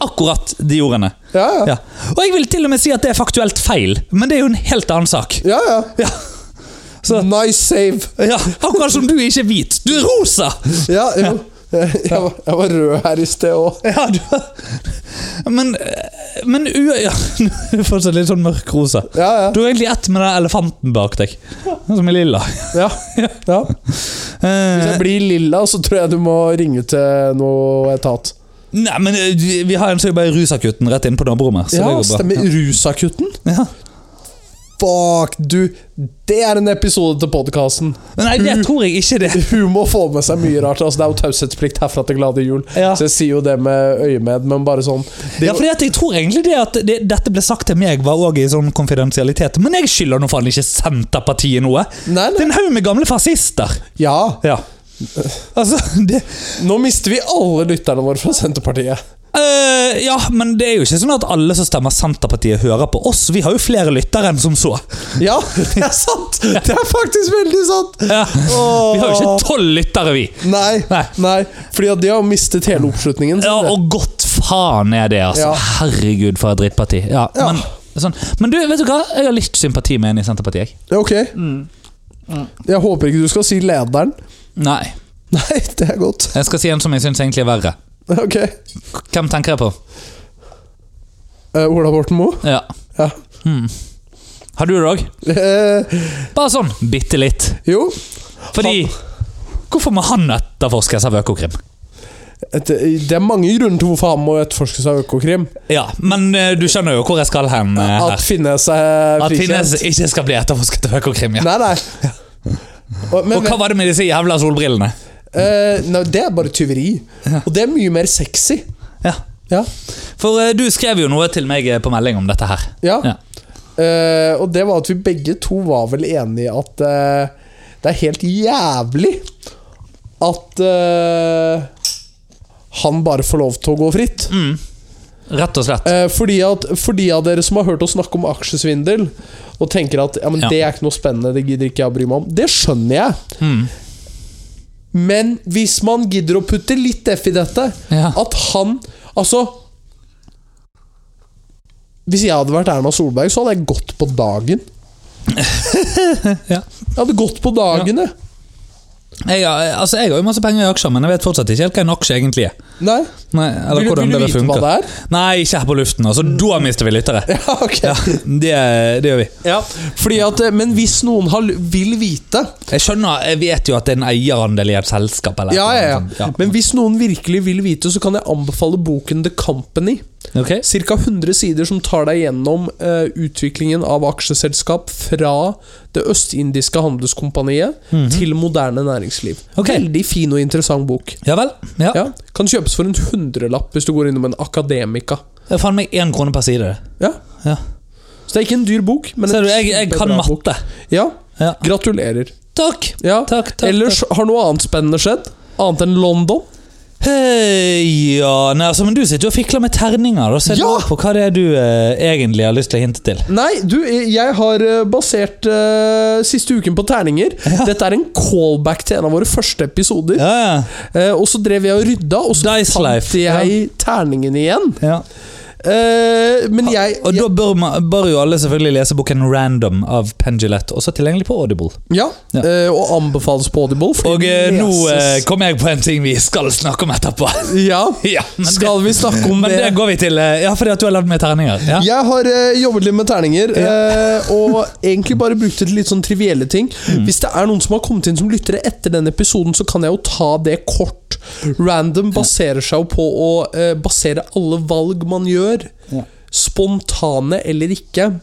Speaker 1: Akkurat de ordene.
Speaker 2: Ja, ja.
Speaker 1: Ja. Og jeg vil til og med si at det er faktuelt feil, men det er jo en helt annen sak.
Speaker 2: ja, ja.
Speaker 1: Ja, Så-
Speaker 2: Nice save.
Speaker 1: ja Akkurat som du er ikke hvit, du er rosa!
Speaker 2: Ja, jo. Jeg, jeg, var, jeg var rød her i sted òg.
Speaker 1: Ja, du Men, men u... Ja, du er fortsatt litt sånn mørk rosa.
Speaker 2: Ja, ja.
Speaker 1: Du er egentlig ett med den elefanten bak deg, som er lilla.
Speaker 2: ja, ja. Hvis
Speaker 1: Eh,
Speaker 2: jeg blir lilla, så tror jeg du må ringe til noe etat.
Speaker 1: nei, men eh, vi- vi har en som jobber i rusakutten rett inne på naborommet. Så
Speaker 2: Ja,
Speaker 1: det går bra.
Speaker 2: stemmer. Rusakutten?
Speaker 1: Ja.
Speaker 2: Fuck, du. Det er en episode til podkasten.
Speaker 1: Men Nei, det tror jeg ikke det.
Speaker 2: Hun må få med seg mye rart. Altså, det er jo taushetsplikt herfra til glade jul.
Speaker 1: Ja.
Speaker 2: Så jeg sier jo det med øyemed, men bare sånn det,
Speaker 1: Ja, fordi at jeg tror egentlig det at det, dette ble sagt til meg, var også i sånn konfidensialitet. Men jeg skylder nå faen ikke Senterpartiet noe!
Speaker 2: Nei,
Speaker 1: Det er
Speaker 2: nei.
Speaker 1: en haug med gamle fascister!
Speaker 2: Ja.
Speaker 1: Ja. Altså, det
Speaker 2: Nå mister vi alle lytterne våre fra Senterpartiet.
Speaker 1: øh, Ja, men det er jo ikke sånn at alle som stemmer Senterpartiet, hører på oss. Vi har jo flere lyttere enn som så.
Speaker 2: Ja, det er sant! Det er faktisk veldig sant!
Speaker 1: Ja.
Speaker 2: Åh.
Speaker 1: Vi har jo ikke tolv lyttere, vi!
Speaker 2: Nei,
Speaker 1: Nei.
Speaker 2: nei. Fordi at de har mistet hele oppslutningen.
Speaker 1: Ja, og godt faen er det, altså.
Speaker 2: Ja.
Speaker 1: Herregud, for et drittparti. Ja,
Speaker 2: Ja.
Speaker 1: Men, sånn. men du, vet du hva? Jeg har litt sympati med en i Senterpartiet. jeg.
Speaker 2: Ja, Ok.
Speaker 1: Mm.
Speaker 2: Jeg håper ikke du skal si lederen.
Speaker 1: Nei.
Speaker 2: Nei, det er godt.
Speaker 1: Jeg skal si en som jeg syns egentlig er verre.
Speaker 2: Ok.
Speaker 1: Hvem tenker jeg på?
Speaker 2: Eh, Ola Borten Moe?
Speaker 1: Ja.
Speaker 2: Ja.
Speaker 1: Har du det òg?
Speaker 2: Eh,
Speaker 1: Bare sånn bitte litt.
Speaker 2: jo.
Speaker 1: Fordi Hvorfor må han etterforskes av Økokrim?
Speaker 2: Et, det er mange grunner til hvorfor han må etterforskes av Økokrim.
Speaker 1: Ja, men eh, du skjønner jo hvor jeg skal hen. eh,
Speaker 2: At
Speaker 1: her.
Speaker 2: Finnes er
Speaker 1: At Finnes
Speaker 2: frikjent.
Speaker 1: ikke skal bli etterforsket av Økokrim. ja.
Speaker 2: Nei, nei. Og, men
Speaker 1: Og hva var det med disse jævla solbrillene?
Speaker 2: eh, nei, det er bare tyveri. Og det er mye mer sexy.
Speaker 1: Ja.
Speaker 2: Ja.
Speaker 1: For eh, du skrev jo noe til meg eh, på melding om dette her.
Speaker 2: ja.
Speaker 1: Ja.
Speaker 2: Eh, og det var at vi begge to var vel enige i at eh, det er helt jævlig at eh, han bare får lov til å gå fritt.
Speaker 1: Mm. Rett og slett.
Speaker 2: Eh, for de at- for de av dere som har hørt oss snakke om aksjesvindel, og tenker at ja, men
Speaker 1: Ja.
Speaker 2: det er ikke noe spennende, det gidder ikke jeg å bry meg om. Det skjønner jeg.
Speaker 1: Mm.
Speaker 2: Men hvis man gidder å putte litt F i dette,
Speaker 1: Ja.
Speaker 2: at han Altså Hvis jeg hadde vært Erna Solberg, så hadde jeg gått på dagen.
Speaker 1: Ja.
Speaker 2: Jeg hadde gått på dagen, jeg.
Speaker 1: Jeg, har- altså, jeg har jo masse penger i aksjer, men jeg vet fortsatt ikke helt hva en aksje egentlig er.
Speaker 2: Nei?
Speaker 1: Nei, eller
Speaker 2: Vil du-
Speaker 1: hvordan
Speaker 2: vil du
Speaker 1: det
Speaker 2: vite
Speaker 1: funker.
Speaker 2: hva det er?
Speaker 1: Nei, ikke her på luften. altså. Da mister vi lyttere.
Speaker 2: Ja, ok.
Speaker 1: Ja, det, det gjør vi.
Speaker 2: Ja, fordi at, eh, men hvis noen har, l- vil vite
Speaker 1: Jeg skjønner, jeg vet jo at det er en eierandel i et selskap. Eller
Speaker 2: ja,
Speaker 1: et
Speaker 2: ja,
Speaker 1: eller
Speaker 2: ja.
Speaker 1: annet sånt.
Speaker 2: Men hvis noen virkelig vil vite, så kan jeg anbefale boken The Company.
Speaker 1: ja. Ok.
Speaker 2: Ca. 100 sider som tar deg gjennom eh, utviklingen av aksjeselskap fra det østindiske handelskompaniet til moderne næringsliv.
Speaker 1: Mhm. Ok.
Speaker 2: Veldig fin og interessant bok.
Speaker 1: Ja vel. Ja.
Speaker 2: Ja. Kan kjøpes for en hundrelapp hvis du går innom en akademika.
Speaker 1: Det er faen meg én krone per side. det.
Speaker 2: Ja.
Speaker 1: Ja.
Speaker 2: Så det er ikke en dyr bok, men
Speaker 1: Ser
Speaker 2: en
Speaker 1: du, jeg, jeg kan
Speaker 2: kjempebra bok.
Speaker 1: matte.
Speaker 2: Ja.
Speaker 1: Ja.
Speaker 2: Gratulerer.
Speaker 1: Takk.
Speaker 2: Ja.
Speaker 1: Takk, takk,
Speaker 2: Ellers har noe annet spennende skjedd? Annet enn London?
Speaker 1: Hei, ja, nei, altså, Men du sitter jo og fikler med terninger. Da ser
Speaker 2: Ja!
Speaker 1: du på hva det er du eh, egentlig har lyst til å hinte til.
Speaker 2: Nei, du, jeg har eh, basert eh, siste uken på terninger. Dette er en callback til en av våre første episoder.
Speaker 1: Ja, ja.
Speaker 2: Eh, og så drev jeg og rydda, og så
Speaker 1: Dice
Speaker 2: fant
Speaker 1: life,
Speaker 2: jeg terningen igjen.
Speaker 1: ja.
Speaker 2: Eh, men jeg,
Speaker 1: Ah, Og da bør, man, bør jo alle selvfølgelig lese boken Random av Pendulett, også tilgjengelig på Audible.
Speaker 2: Ja,
Speaker 1: Ja.
Speaker 2: eh, og anbefales på Audible. for
Speaker 1: Og eh, nå eh,
Speaker 2: leses.
Speaker 1: kommer jeg på en ting vi skal snakke om etterpå.
Speaker 2: Ja,
Speaker 1: ja, men det-
Speaker 2: skal vi snakke om
Speaker 1: Men
Speaker 2: det?
Speaker 1: det går vi til eh, Ja, fordi at du har lagd med terninger. Ja.
Speaker 2: Jeg har eh, jobbet litt med terninger, eh, og egentlig bare brukt det til litt sånn trivielle ting.
Speaker 1: Mm.
Speaker 2: Hvis det er noen som har kommet inn som lyttere etter den episoden, så kan jeg jo ta det kort. Random baserer seg jo på å eh, basere alle valg man gjør,
Speaker 1: Ja. Mm.
Speaker 2: spontane eller ikke,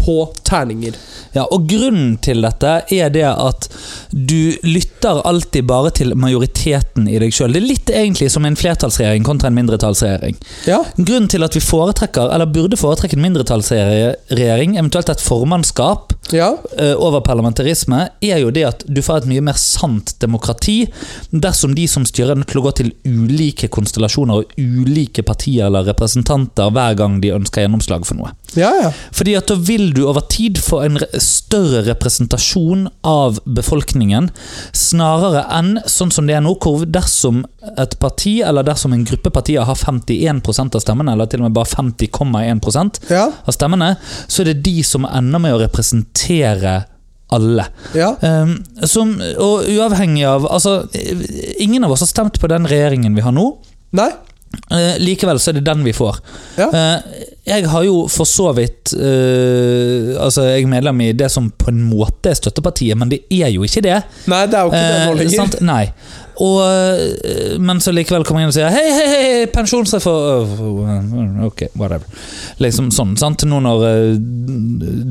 Speaker 2: på terninger.
Speaker 1: Ja, og grunnen til dette er det at du lytter alltid bare til majoriteten i deg sjøl. Det er litt egentlig som en flertallsregjering kontra en mindretallsregjering.
Speaker 2: Ja,
Speaker 1: Grunnen til at vi foretrekker, eller burde foretrekke en mindretallsregjering, eventuelt et formannskap,
Speaker 2: ja,
Speaker 1: eh, over parlamentarisme, er jo det at du får et mye mer sant demokrati dersom de som styrer er nødt til å gå til ulike konstellasjoner og ulike partier eller representanter hver gang de ønsker gjennomslag for noe.
Speaker 2: Ja, ja.
Speaker 1: Fordi at da vil du over tid få en re større representasjon av befolkningen, snarere enn sånn som det er nå, hvor dersom et parti, eller dersom en gruppe partier har 51 av stemmene, eller til og med bare 50,1
Speaker 2: Ja,
Speaker 1: av stemmene, så er det de som ender med å representere alle.
Speaker 2: ja.
Speaker 1: Ehm, som, og uavhengig av Altså, ingen av oss har stemt på den regjeringen vi har nå.
Speaker 2: Nei.
Speaker 1: Eh, likevel så er det den vi får.
Speaker 2: Ja.
Speaker 1: Eh, jeg har jo for så vidt eh, Altså, jeg er medlem i det som på en måte er støttepartiet, men det er jo ikke det.
Speaker 2: Nei, det er jo ikke det nå
Speaker 1: Eh,
Speaker 2: lenger.
Speaker 1: sant? Nei. Og, eh, men så likevel kommer jeg inn og sier Hei, hei, hei, pensjonsreform Ok, whatever. Liksom sånn, sant? Nå når eh,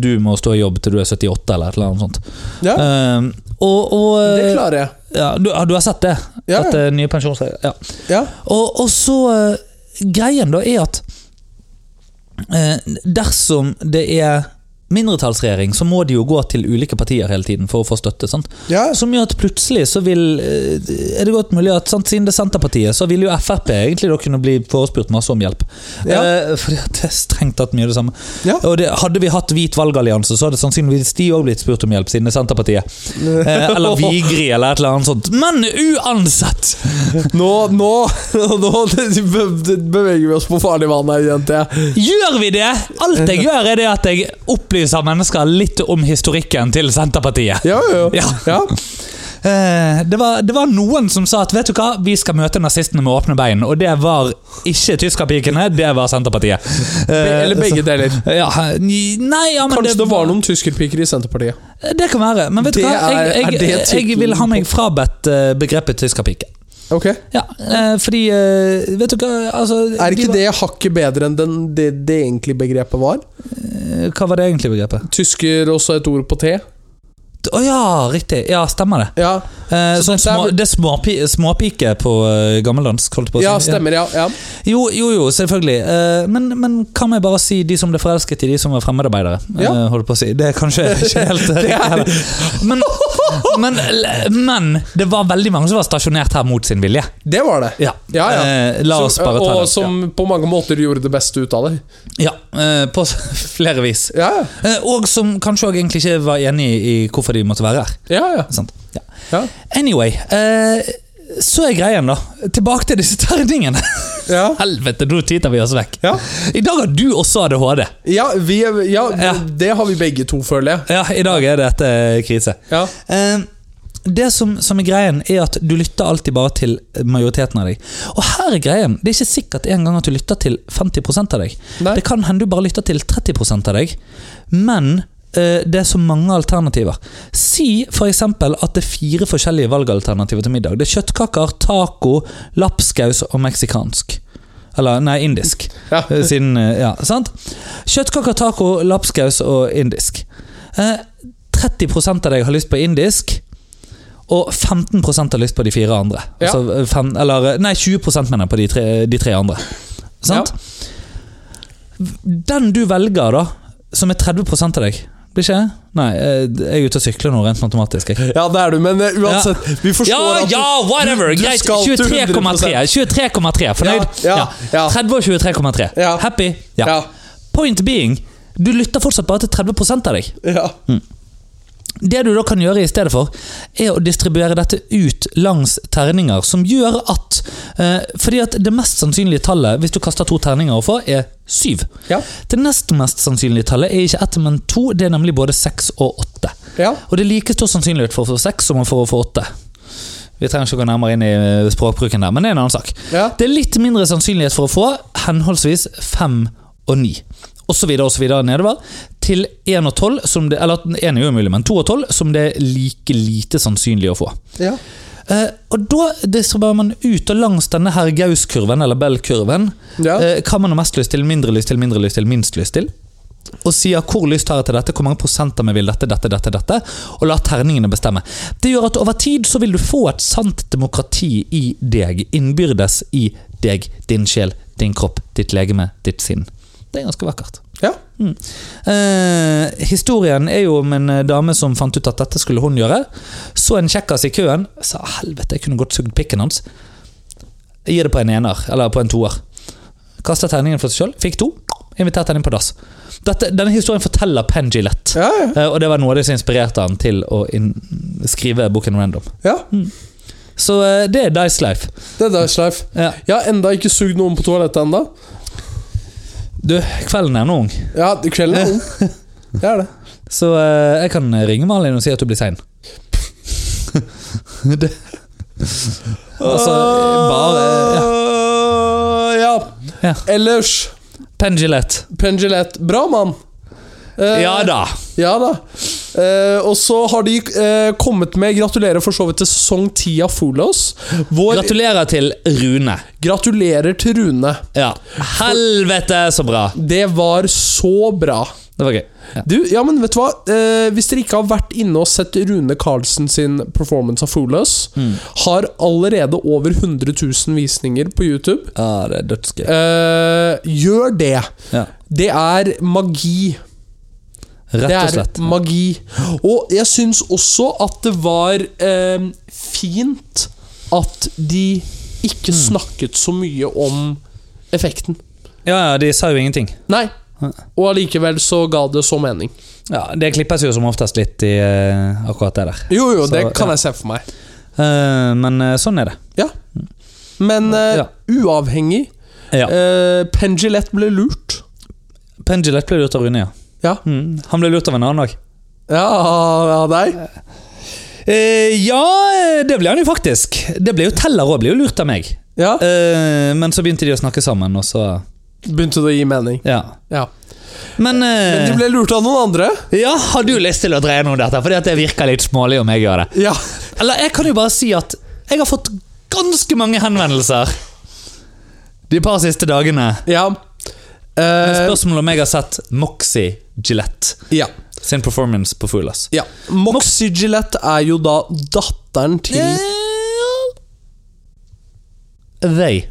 Speaker 1: du må stå i jobb til du er 78 eller et eller annet sånt.
Speaker 2: Ja,
Speaker 1: Eh, og, og eh,
Speaker 2: det klarer jeg.
Speaker 1: ja, du, ja, du har sett det?
Speaker 2: Ja, ja.
Speaker 1: Dette nye pensjonsregler? Ja.
Speaker 2: Ja,
Speaker 1: Og, og så eh, Greien da er at eh, dersom det er mindretallsregjering, så må de jo gå til ulike partier hele tiden for å få støtte. sant?
Speaker 2: ja.
Speaker 1: Som gjør at plutselig så vil eh, Er det godt mulig at sant, siden det er Senterpartiet, så vil jo Frp egentlig da kunne bli forespurt masse om hjelp.
Speaker 2: Ja.
Speaker 1: Eh, fordi at det er strengt tatt mye det samme.
Speaker 2: Ja.
Speaker 1: Og det, Hadde vi hatt hvit valgallianse, så hadde sannsynligvis de òg blitt spurt om hjelp, siden det er Senterpartiet. Eh, eller Vigri, eller et eller annet sånt. Men uansett!
Speaker 2: Nå, nå, nå beveger vi oss på farlig vann her, kjente jeg.
Speaker 1: Gjør vi det? Alt jeg gjør, er det at jeg opplyser mennesker litt om historikken til Senterpartiet.
Speaker 2: Ja, ja, ja.
Speaker 1: Ja.
Speaker 2: ja.
Speaker 1: Eh, Det var, det var noen som sa at vet du hva, vi skal møte nazistene med åpne bein. Og det var ikke tyskerpikene, det var Senterpartiet. Eh,
Speaker 2: Eller begge deler.
Speaker 1: så- Ja, nei, ja, men
Speaker 2: Kanskje det var noen tyskerpiker i Senterpartiet.
Speaker 1: Det kan være. Men vet du
Speaker 2: Det
Speaker 1: hva, jeg,
Speaker 2: er- er
Speaker 1: jeg,
Speaker 2: det
Speaker 1: jeg,
Speaker 2: tittelen
Speaker 1: vil ha
Speaker 2: på-
Speaker 1: meg frabedt eh, begrepet tyskerpike.
Speaker 2: Ok.
Speaker 1: Ja, eh, fordi eh, Vet du hva, altså
Speaker 2: Er
Speaker 1: de
Speaker 2: ikke
Speaker 1: var-
Speaker 2: det hakket bedre enn den, det, det egentlige begrepet var?
Speaker 1: Eh, Hva var det egentlig begrepet?
Speaker 2: Tysker også et ord på T?
Speaker 1: Å ja, riktig. Ja, stemmer det.
Speaker 2: Ja,
Speaker 1: Eh,
Speaker 2: Så
Speaker 1: sånn
Speaker 2: dette er
Speaker 1: små,
Speaker 2: vel-
Speaker 1: det er småpi, småpike på eh, gammeldansk, holdt jeg på å si.
Speaker 2: ja stemmer, ja. ja.
Speaker 1: Jo, jo, jo selvfølgelig. Eh, men, men kan vi bare si de som ble forelsket i de som var fremmedarbeidere?
Speaker 2: Ja.
Speaker 1: Eh, holdt på å si. Det er kanskje ikke helt eh,
Speaker 2: Det
Speaker 1: riktig
Speaker 2: er-
Speaker 1: heller. Men, men, men det var veldig mange som var stasjonert her mot sin vilje.
Speaker 2: Det var det.
Speaker 1: Ja.
Speaker 2: Ja, ja.
Speaker 1: Eh, la oss
Speaker 2: Som-
Speaker 1: bare ta
Speaker 2: og
Speaker 1: det.
Speaker 2: som på mange måter gjorde det beste ut av det.
Speaker 1: Ja, eh, på s- flere vis.
Speaker 2: Ja, ja.
Speaker 1: Eh, og som kanskje også egentlig ikke var enig i hvorfor de måtte være her.
Speaker 2: ja, ja.
Speaker 1: Sant? Ja.
Speaker 2: ja.
Speaker 1: Anyway, eh, så er greien, da. Tilbake til disse terningene.
Speaker 2: ja.
Speaker 1: Helvete, nå tyter vi oss vekk.
Speaker 2: ja.
Speaker 1: I dag har du også ADHD.
Speaker 2: ja, vi, er- ja,
Speaker 1: Ja.
Speaker 2: det har vi begge to, føler jeg.
Speaker 1: Ja, i dag er dette krise.
Speaker 2: Ja.
Speaker 1: Eh, Det som, som er greien, er at du lytter alltid bare til eh, majoriteten av deg. Og her er greien, det er ikke sikkert engang at du lytter til 50 av deg.
Speaker 2: Nei.
Speaker 1: Det kan hende du bare lytter til 30 av deg, men eh, det er så mange alternativer. Si f.eks. at det er fire forskjellige valgalternativer til middag. Det er kjøttkaker, taco, lapskaus og meksikansk. Eller, nei, indisk.
Speaker 2: Ja.
Speaker 1: Eh, Siden, eh, ja, sant? Kjøttkaker, taco, lapskaus og indisk. Eh, 30 av deg har lyst på indisk, og 15 har lyst på de fire andre.
Speaker 2: Ja.
Speaker 1: Altså, eh, fem, eller, eh, nei, 20 mener jeg på de tre, de tre andre. Sant? Den du velger, da, som er 30 av deg Blir ikke jeg? Nei, eh, jeg er ute og sykler nå, rent matematisk. Jeg.
Speaker 2: Ja, det er du, men eh, uansett Vi forstår
Speaker 1: Ja,
Speaker 2: at du-
Speaker 1: ja, whatever!
Speaker 2: du
Speaker 1: Greit.
Speaker 2: skal til
Speaker 1: 23,3. 23,3, Fornøyd?
Speaker 2: Ja, ja, ja.
Speaker 1: 30 og 23,3.
Speaker 2: Ja.
Speaker 1: Happy? Ja.
Speaker 2: Ja.
Speaker 1: Point being, du lytter fortsatt bare til 30 av deg.
Speaker 2: ja.
Speaker 1: Mm. Det du da kan gjøre i stedet for, er å distribuere dette ut langs terninger, som gjør at eh, Fordi at det mest sannsynlige tallet, hvis du kaster to terninger overfor, er syv.
Speaker 2: Ja.
Speaker 1: Det nest mest sannsynlige tallet er ikke ett, men to. Det er nemlig både seks og åtte.
Speaker 2: ja.
Speaker 1: Og det er like stor sannsynlighet for å få seks som for å få åtte. Vi trenger ikke å gå nærmere inn i eh, språkbruken der, men det er en annen sak.
Speaker 2: Ja.
Speaker 1: Det er litt mindre sannsynlighet for å få henholdsvis fem og ni. Og så videre og så videre nedover. Til én og tolv, som det, eller én er jo umulig, men to og tolv, som det er like lite sannsynlig å få.
Speaker 2: ja.
Speaker 1: Eh, og da distribuerer man ut og langs denne her Gauss-kurven, eller Bell-kurven,
Speaker 2: Ja.
Speaker 1: eh, hva man har mest lyst til, mindre lyst til, mindre lyst til, minst lyst til. Og sier hvor lyst har jeg til dette, hvor mange prosenter vi vil dette, dette, dette, dette, og lar terningene bestemme. Det gjør at over tid så vil du få et sant demokrati i deg, innbyrdes i deg, din sjel, din kropp, ditt legeme, ditt sinn. Det er ganske vakkert.
Speaker 2: ja.
Speaker 1: Mm. Eh, historien er jo om en eh, dame som fant ut at dette skulle hun gjøre. Så en kjekkas i køen. Sa helvete, jeg kunne godt sugd pikken hans. Jeg gir det på en ener, eller på en toer. Kasta terningen for seg sjøl, fikk to. invitert han inn på dass. Dette, denne historien forteller Penn Gillett.
Speaker 2: Ja, ja.
Speaker 1: Eh, og det var noe av det som inspirerte han til å inn, skrive boken Random.
Speaker 2: ja.
Speaker 1: Så eh, det er Dice Life.
Speaker 2: Det er Dice Life.
Speaker 1: Ja.
Speaker 2: Jeg har enda ikke sugd noen på toalettet enda
Speaker 1: Du, kvelden er nå ung,
Speaker 2: Ja, kvelden er ung. Det er det.
Speaker 1: så eh, jeg kan ringe Malin og si at du blir sein. det. Altså, bare ja.
Speaker 2: ja.
Speaker 1: Ja.
Speaker 2: Ellers
Speaker 1: Penn Gillett.
Speaker 2: Pengelett. Bra, mann. Eh,
Speaker 1: Ja da.
Speaker 2: Ja da. Eh, og så har de eh, kommet med Gratulerer for så vidt til sesong 10 av Fool oss. Vår
Speaker 1: Gratulerer til Rune.
Speaker 2: gratulerer til Rune.
Speaker 1: Ja. Helvete, så bra!
Speaker 2: Det var så bra.
Speaker 1: Det var gøy. Ja.
Speaker 2: Du, ja, men vet du hva? Eh, hvis dere ikke har vært inne og sett Rune Carlsen sin performance av Fool oss, har allerede over 100 000 visninger på YouTube.
Speaker 1: Ja, det er dødsgøy.
Speaker 2: Eh, gjør det.
Speaker 1: Ja.
Speaker 2: Det er magi.
Speaker 1: Rett
Speaker 2: Det
Speaker 1: og
Speaker 2: er
Speaker 1: slett.
Speaker 2: magi. Og jeg syns også at det var eh, fint at de ikke snakket så mye om effekten.
Speaker 1: Ja, ja, de sa jo ingenting.
Speaker 2: Nei. Og allikevel så ga det så mening.
Speaker 1: Ja, Det klippes jo som oftest litt i eh, akkurat det der.
Speaker 2: Jo, jo,
Speaker 1: Så,
Speaker 2: det kan
Speaker 1: ja.
Speaker 2: jeg se for meg.
Speaker 1: Eh, men eh, sånn er det.
Speaker 2: Ja. Men eh,
Speaker 1: Ja.
Speaker 2: uavhengig
Speaker 1: Ja.
Speaker 2: eh, Pengelett ble lurt.
Speaker 1: Penn Gillett ble lurt av Rune, ja.
Speaker 2: Ja.
Speaker 1: Mm. Han ble lurt av en annen òg.
Speaker 2: Ja, ja deg.
Speaker 1: Eh, ja, eh, det ble han jo faktisk. Det ble jo Teller òg, ble jo lurt av meg.
Speaker 2: Ja.
Speaker 1: Eh, men så begynte de å snakke sammen, og så
Speaker 2: Begynte det å gi mening.
Speaker 1: Ja.
Speaker 2: Ja.
Speaker 1: Men,
Speaker 2: Men
Speaker 1: eh,
Speaker 2: de ble lurt av noen andre.
Speaker 1: ja, har du lyst til å dreie noe om dette? Fordi at det virker litt smålig om jeg gjør det.
Speaker 2: Ja.
Speaker 1: Eller jeg kan jo bare si at jeg har fått ganske mange henvendelser de par siste dagene.
Speaker 2: Ja.
Speaker 1: Med
Speaker 2: Eh,
Speaker 1: spørsmål om jeg har sett Moxie Gillette
Speaker 2: ja.
Speaker 1: sin performance på Foolers.
Speaker 2: Ja. Moxie Gillette er jo da datteren til
Speaker 1: They.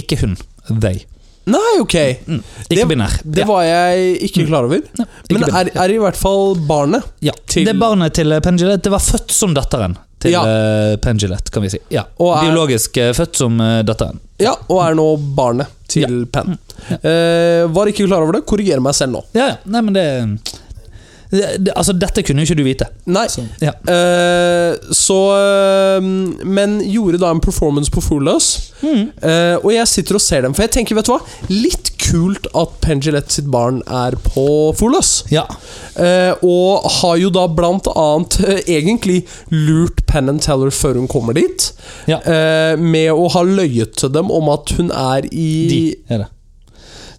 Speaker 1: Ikke hun. They.
Speaker 2: Nei, ok.
Speaker 1: Mm. Ikke
Speaker 2: Det-
Speaker 1: binær. Mm.
Speaker 2: Det var jeg ikke klar over.
Speaker 1: ikke
Speaker 2: Men er,
Speaker 1: binær.
Speaker 2: er i hvert fall barnet.
Speaker 1: Ja,
Speaker 2: til-
Speaker 1: Det barnet til eh, Penn Gillette det var født som datteren til
Speaker 2: Ja.
Speaker 1: eh, Penn Gillette, kan vi si. Ja.
Speaker 2: Og er-
Speaker 1: Biologisk eh, født som eh, datteren.
Speaker 2: Ja, og er nå barnet til Penn.
Speaker 1: Mm.
Speaker 2: Eh, var ikke klar over det. Korrigerer meg selv nå.
Speaker 1: Ja, ja. Nei, men det, det, det Altså, dette kunne jo ikke du vite.
Speaker 2: Nei.
Speaker 1: Så, ja.
Speaker 2: Eh, så eh, Men gjorde da en performance på Foolers.
Speaker 1: Mm.
Speaker 2: Eh, og jeg sitter og ser dem, for jeg tenker, vet du hva? Litt kult at Penn Gillette sitt barn er på Foolers.
Speaker 1: Ja.
Speaker 2: Eh, og har jo da blant annet eh, egentlig lurt Penn and Teller før hun kommer dit.
Speaker 1: Ja.
Speaker 2: eh, med å ha løyet til dem om at hun er i
Speaker 1: De er det.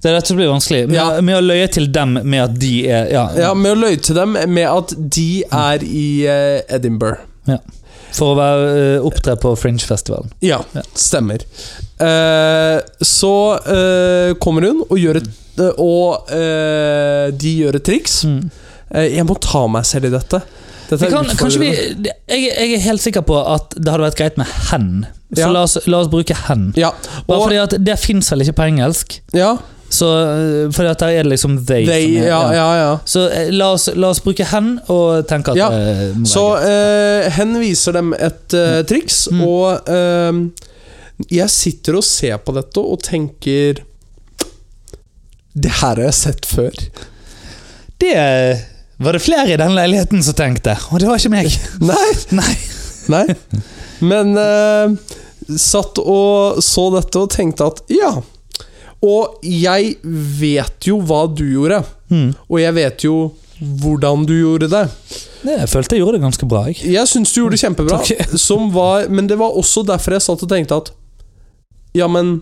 Speaker 1: Det er dette som blir vanskelig. Med,
Speaker 2: Ja.
Speaker 1: med å løye til dem med at de er Ja.
Speaker 2: Ja, med å løye til dem med at de er i eh, Edinburgh.
Speaker 1: Ja. For å være, eh, opptre på Fringe-festivalen.
Speaker 2: Ja, stemmer. Eh, så eh, kommer hun og gjør et eh, Og eh, de gjør et triks. Eh, jeg må ta meg selv i dette.
Speaker 1: Mm.
Speaker 2: Dette
Speaker 1: Vi
Speaker 2: er
Speaker 1: kan, kanskje vi,
Speaker 2: utfordrende.
Speaker 1: jeg, jeg er helt sikker på at det hadde vært greit med hen. Så
Speaker 2: Ja.
Speaker 1: la, oss, la oss bruke hen.
Speaker 2: Ja.
Speaker 1: Bare
Speaker 2: Og,
Speaker 1: fordi at det fins vel ikke på engelsk.
Speaker 2: ja,
Speaker 1: Så øh, fordi at der er det liksom they.
Speaker 2: they,
Speaker 1: som er-
Speaker 2: ja, ja, ja.
Speaker 1: Så eh, la oss, la oss bruke hen og tenke at
Speaker 2: Ja,
Speaker 1: det må være
Speaker 2: Så
Speaker 1: greit.
Speaker 2: eh, hen viser dem et eh, triks, og eh, jeg sitter og ser på dette og tenker Det her har jeg sett før.
Speaker 1: Det eh, var det flere i den leiligheten som tenkte, og det var ikke meg.
Speaker 2: Nei,
Speaker 1: Nei.
Speaker 2: nei. Men eh, satt og så dette og tenkte at ja. Og jeg vet jo hva du gjorde,
Speaker 1: Mm.
Speaker 2: og jeg vet jo hvordan du gjorde det.
Speaker 1: Det, jeg følte jeg gjorde det ganske bra. Jeg.
Speaker 2: Jeg syns du gjorde det kjempebra,
Speaker 1: Takk.
Speaker 2: som var, men det var også derfor jeg satt og tenkte at Ja, men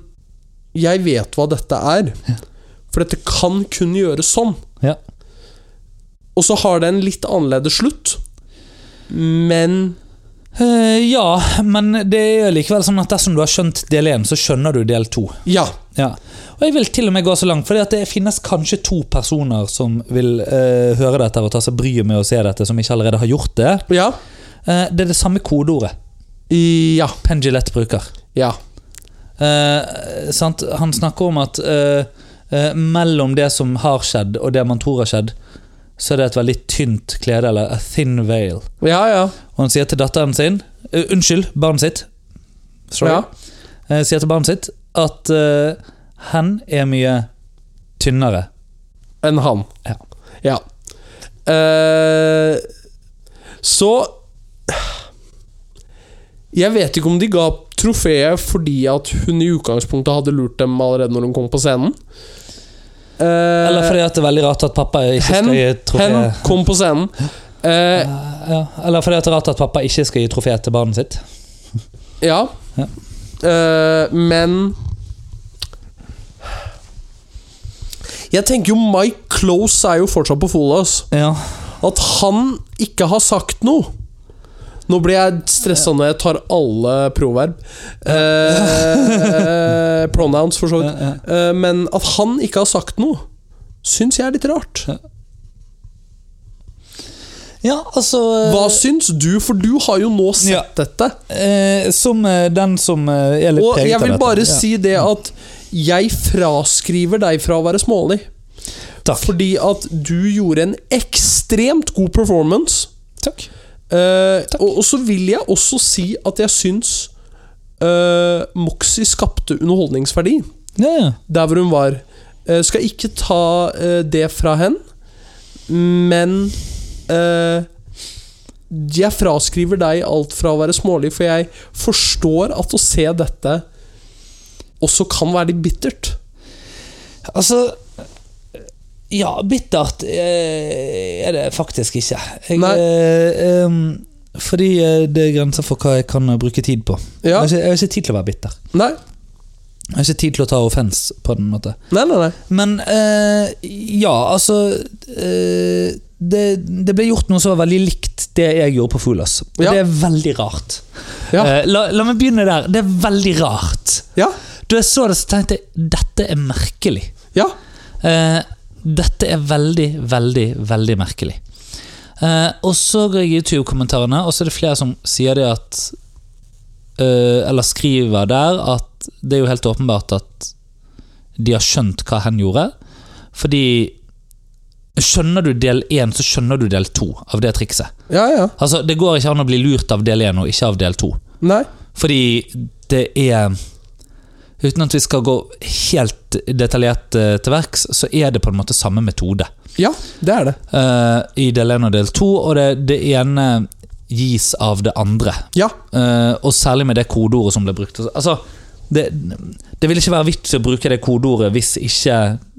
Speaker 2: jeg vet hva dette er. For dette kan kun gjøres sånn.
Speaker 1: Ja.
Speaker 2: Og så har det en litt annerledes slutt. Men
Speaker 1: Eh, ja, men det er jo likevel sånn at dersom du har skjønt del én, så skjønner du del to.
Speaker 2: ja.
Speaker 1: Ja. Og jeg vil til og med gå så langt, fordi at det finnes kanskje to personer som vil eh, høre dette og ta seg bryet med å se dette, som ikke allerede har gjort det.
Speaker 2: Ja.
Speaker 1: Eh, det er det samme kodeordet
Speaker 2: Ja.
Speaker 1: Pengilett bruker.
Speaker 2: Ja.
Speaker 1: Eh, sant? Han snakker om at eh, eh, mellom det som har skjedd, og det man tror har skjedd, så er det et veldig tynt klede, eller a thin veil.
Speaker 2: Ja, ja.
Speaker 1: Og han sier til datteren sin eh, Unnskyld, barnet sitt. Sorry.
Speaker 2: ja.
Speaker 1: Eh, sier til barnet sitt at eh, Hen er mye tynnere.
Speaker 2: enn han.
Speaker 1: Ja.
Speaker 2: Ja. Eh, så Jeg vet ikke om de ga trofeet fordi at hun i utgangspunktet hadde lurt dem allerede når hun kom på scenen. Eh,
Speaker 1: Eller fordi at det er veldig rart at pappa ikke
Speaker 2: hen,
Speaker 1: skal gi trofé.
Speaker 2: hen kom på scenen. Eh,
Speaker 1: Ja, eller fordi at det er rart at pappa ikke skal gi trofé til barnet sitt.
Speaker 2: ja.
Speaker 1: Ja.
Speaker 2: Eh, men Jeg tenker jo Mike Close er jo fortsatt på Follas.
Speaker 1: Ja.
Speaker 2: At han ikke har sagt noe. Nå blir jeg stressa når jeg tar alle proverb. Eh, eh, pronouns, for så vidt.
Speaker 1: Ja,
Speaker 2: Eh, men at han ikke har sagt noe, syns jeg er litt rart.
Speaker 1: Ja, altså eh,
Speaker 2: Hva syns du? For du har jo nå sett
Speaker 1: Ja.
Speaker 2: dette.
Speaker 1: eh, Som eh, den som eh, er litt
Speaker 2: Og
Speaker 1: preget
Speaker 2: jeg
Speaker 1: av
Speaker 2: vil
Speaker 1: dette.
Speaker 2: bare
Speaker 1: Ja.
Speaker 2: si det at jeg fraskriver deg fra å være smålig.
Speaker 1: Takk.
Speaker 2: Fordi at du gjorde en ekstremt god performance.
Speaker 1: Takk.
Speaker 2: Eh, og, og så vil jeg også si at jeg syns eh, Moxie skapte underholdningsverdi
Speaker 1: Ja, ja.
Speaker 2: der hvor hun var. Eh, skal ikke ta eh, det fra henne, men eh, Jeg fraskriver deg alt fra å være smålig, for jeg forstår at å se dette også kan være litt bittert.
Speaker 1: Altså Ja, bittert eh, er det faktisk ikke. Jeg,
Speaker 2: Nei.
Speaker 1: eh, em, fordi eh, det er grenser for hva jeg kan eh, bruke tid på. Jeg,
Speaker 2: Ja.
Speaker 1: har ikke, jeg har ikke tid til å være bitter.
Speaker 2: Nei,
Speaker 1: Jeg har ikke tid til å ta offens på den måten.
Speaker 2: nei, nei. nei.
Speaker 1: Men eh, ja, altså eh, det, det ble gjort noe som var veldig likt det jeg gjorde på Fulas. Og
Speaker 2: Ja.
Speaker 1: Det er veldig rart.
Speaker 2: Ja.
Speaker 1: Eh, la, la meg begynne der. Det er veldig rart.
Speaker 2: Ja,
Speaker 1: Da jeg så det, så tenkte jeg dette er merkelig.
Speaker 2: ja.
Speaker 1: Eh, dette er veldig, veldig, veldig merkelig. Eh, og så går jeg i YouTube-kommentarene, og så er det flere som sier det at eh, Eller skriver der at det er jo helt åpenbart at de har skjønt hva hen gjorde. Fordi Skjønner du del én, så skjønner du del to av det trikset.
Speaker 2: Ja, ja.
Speaker 1: Altså, Det går ikke an å bli lurt av del én og ikke av del to.
Speaker 2: Nei.
Speaker 1: Fordi det er Uten at vi skal gå helt detaljert eh, til verks, så er det på en måte samme metode
Speaker 2: Ja, det er det.
Speaker 1: eh, i del 1 og del 2. Og det, det ene gis av det andre.
Speaker 2: Ja.
Speaker 1: Eh, og særlig med det kodeordet som ble brukt. Altså, det, det vil ikke være vits i å bruke det kodeordet hvis ikke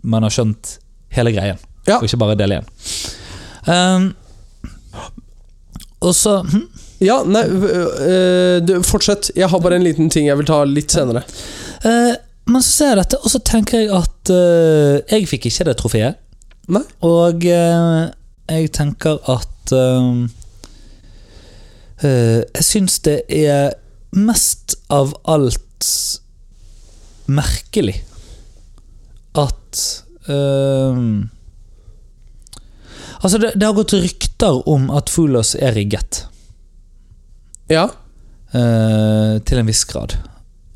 Speaker 1: man har skjønt hele greien.
Speaker 2: Ja.
Speaker 1: Og ikke bare del 1. Um, og så hm?
Speaker 2: Ja, nei øh, øh, du, Fortsett. Jeg har bare en liten ting jeg vil ta litt senere.
Speaker 1: Eh, men så ser jeg dette, og så tenker jeg at eh, jeg fikk ikke det trofeet.
Speaker 2: Nei.
Speaker 1: Og eh, jeg tenker at eh, eh, Jeg syns det er mest av alt merkelig at eh, Altså, det, det har gått rykter om at Fulos er rigget.
Speaker 2: Ja.
Speaker 1: Eh, til en viss grad.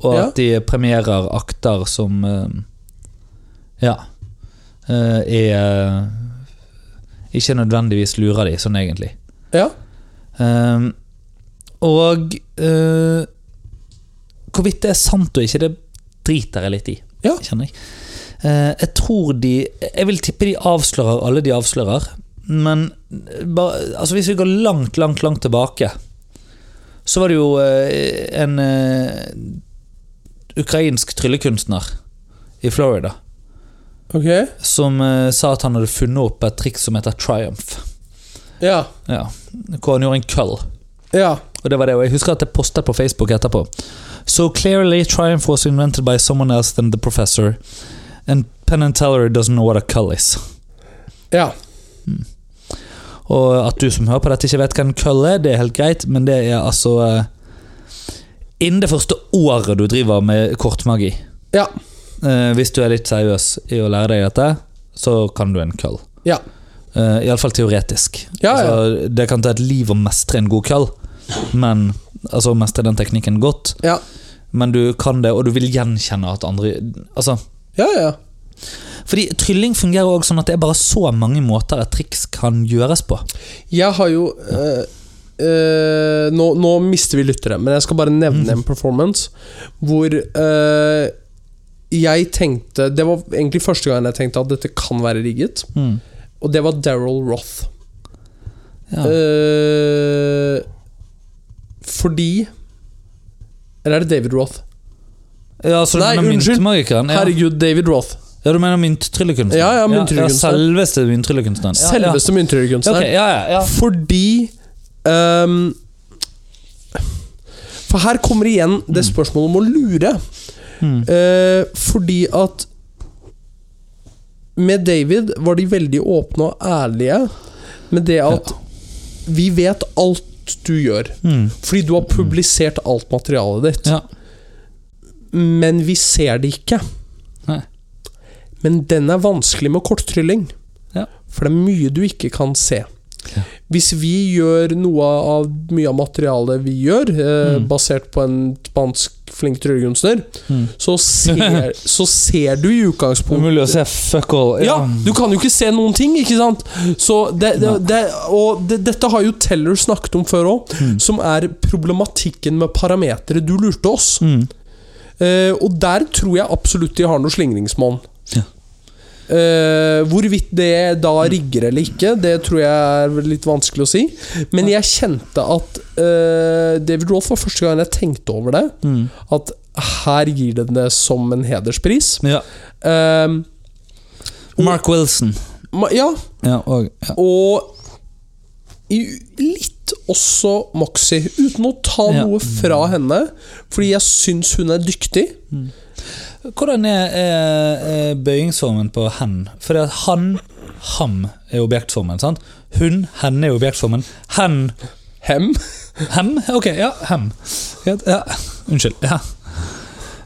Speaker 1: Og
Speaker 2: Ja.
Speaker 1: at de premierer akter som eh, Ja. eh, er Ikke nødvendigvis lurer de, sånn egentlig.
Speaker 2: Ja.
Speaker 1: Eh, og eh, hvorvidt det er sant og ikke, det driter jeg litt i.
Speaker 2: Ja.
Speaker 1: Kjenner jeg. Eh, jeg tror de Jeg vil tippe de avslører alle de avslører. Men bare, altså hvis vi går langt, langt, langt tilbake, så var det jo eh, en eh, ukrainsk tryllekunstner i Florida
Speaker 2: Ok.
Speaker 1: som eh, sa at han hadde funnet opp et triks som heter triumph.
Speaker 2: Ja.
Speaker 1: Ja, hvor han gjorde en køll.
Speaker 2: Ja.
Speaker 1: Og det var det, og jeg husker at jeg postet på Facebook etterpå. So clearly Triumph was invented by someone else than the professor. And Penn and Teller doesn't know what a cull is.
Speaker 2: Ja.
Speaker 1: Og at du som hører på dette ikke vet hva en cull er, det er helt greit, men det er altså eh, Innen det første året du driver med kortmagi,
Speaker 2: Ja.
Speaker 1: eh, hvis du er litt seriøs i å lære deg dette, så kan du en cull.
Speaker 2: Ja.
Speaker 1: Uh, Iallfall teoretisk.
Speaker 2: Ja, ja.
Speaker 1: Altså, det kan ta et liv å mestre en god cull, men altså å mestre den teknikken godt
Speaker 2: Ja.
Speaker 1: men du kan det, og du vil gjenkjenne at andre Altså
Speaker 2: Ja, ja.
Speaker 1: Fordi trylling fungerer også sånn at det er bare så mange måter et triks kan gjøres på.
Speaker 2: Jeg har jo øh, øh, nå, nå mister vi lyttere, men jeg skal bare nevne en performance hvor øh, jeg tenkte Det var egentlig første gangen jeg tenkte at dette kan være rigget.
Speaker 1: Mm.
Speaker 2: Og det var Daryl Roth.
Speaker 1: Ja.
Speaker 2: Eh, fordi Eller er det David Roth?
Speaker 1: ja, så du
Speaker 2: Nei,
Speaker 1: mener
Speaker 2: unnskyld.
Speaker 1: myntmagikeren? Ja.
Speaker 2: Herregud, David Roth.
Speaker 1: ja, du mener myntryllekunstneren?
Speaker 2: Ja, ja, myntryllekunstneren.
Speaker 1: Ja, selveste myntryllekunstneren. Ja, ja.
Speaker 2: Selveste myntryllekunstner.
Speaker 1: Ok, ja, ja, ja.
Speaker 2: Fordi ehm, For her kommer igjen det spørsmålet om å lure.
Speaker 1: Mm.
Speaker 2: Eh, fordi at Med David var de veldig åpne og ærlige med det at Vi vet alt du gjør.
Speaker 1: Mm.
Speaker 2: Fordi du har publisert alt materialet ditt.
Speaker 1: Ja.
Speaker 2: Men vi ser det ikke.
Speaker 1: Nei.
Speaker 2: Men den er vanskelig med korttrylling.
Speaker 1: Ja.
Speaker 2: For det er mye du ikke kan se.
Speaker 1: Ja.
Speaker 2: Hvis vi gjør noe av mye av materialet vi gjør, eh, basert på en spansk flink tryllekunstner,
Speaker 1: Mm.
Speaker 2: så, ser- så ser du i utgangspunktet
Speaker 1: Umulig å se fuck all.
Speaker 2: ja, du kan jo ikke se noen ting, ikke sant? Så det, det, det, og det, dette har jo Teller snakket om før òg,
Speaker 1: Mm.
Speaker 2: som er problematikken med parametere du lurte oss.
Speaker 1: Mm.
Speaker 2: Eh, og der tror jeg absolutt de har noe slingringsmonn.
Speaker 1: Ja.
Speaker 2: Eh, hvorvidt det da rigger eller ikke, det tror jeg er litt vanskelig å si. Men jeg kjente at eh, David Rolf var første gang jeg tenkte over det.
Speaker 1: Mm.
Speaker 2: At her gir den det som en hederspris.
Speaker 1: Ja.
Speaker 2: Eh,
Speaker 1: Mark Wilson.
Speaker 2: ma- ja,
Speaker 1: Ja, og, ja.
Speaker 2: og i, litt også Moxie. Uten å ta
Speaker 1: Ja.
Speaker 2: noe fra henne, fordi jeg syns hun er dyktig.
Speaker 1: Hvordan er, er, er bøyingsformen på hen? Fordi at han, ham er objektformen, sant? Hun, henne er objektformen. Hen,
Speaker 2: Hem.
Speaker 1: hem? Ok, ja, hem. Ja, ja. Unnskyld. Ja.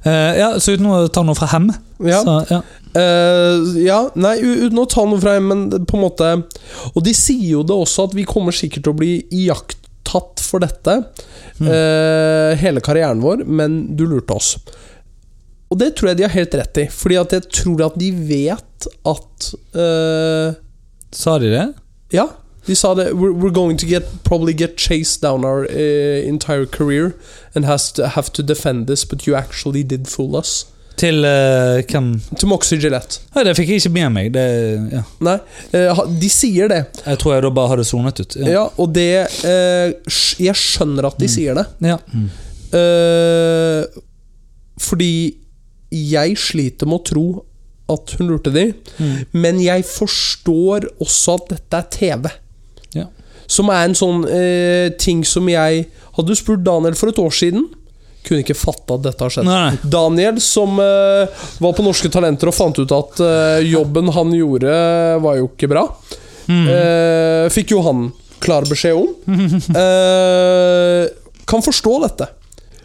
Speaker 1: Eh, ja, så uten å ta noe fra hem,
Speaker 2: Ja.
Speaker 1: så ja.
Speaker 2: Eh, ja, nei, u- uten å ta noe fra dem, men det- på en måte Og de sier jo det også, at vi kommer sikkert til å bli iakttatt for dette eh, hele karrieren vår, men du lurte oss. Og det tror jeg de har helt rett i, fordi at jeg tror at de vet at eh,
Speaker 1: Sa de det?
Speaker 2: Ja, de sa det. We're, we're going to get, probably get chased down our eh, entire career and has to, have to defend this, but you actually did fool us.
Speaker 1: Til eh, hvem?
Speaker 2: Til Moxie Gillette.
Speaker 1: Nei, det fikk jeg ikke med meg. Det, ja.
Speaker 2: Nei, eh, ha- de sier det.
Speaker 1: Jeg tror jeg da bare hadde sonet ut. Ja.
Speaker 2: Ja, og det eh, sk- Jeg skjønner at de sier det.
Speaker 1: Ja. Mm.
Speaker 2: Eh, fordi jeg sliter med å tro at hun lurte de,
Speaker 1: Mm.
Speaker 2: men jeg forstår også at dette er TV.
Speaker 1: Ja.
Speaker 2: Som er en sånn eh, ting som jeg Hadde du spurt Daniel for et år siden, kunne ikke fatte at dette har skjedd.
Speaker 1: Nei, nei.
Speaker 2: Daniel, som eh, var på Norske Talenter og fant ut at eh, jobben han gjorde, var jo ikke bra.
Speaker 1: Mm.
Speaker 2: Eh, fikk jo han klar beskjed om. Eh, kan forstå dette.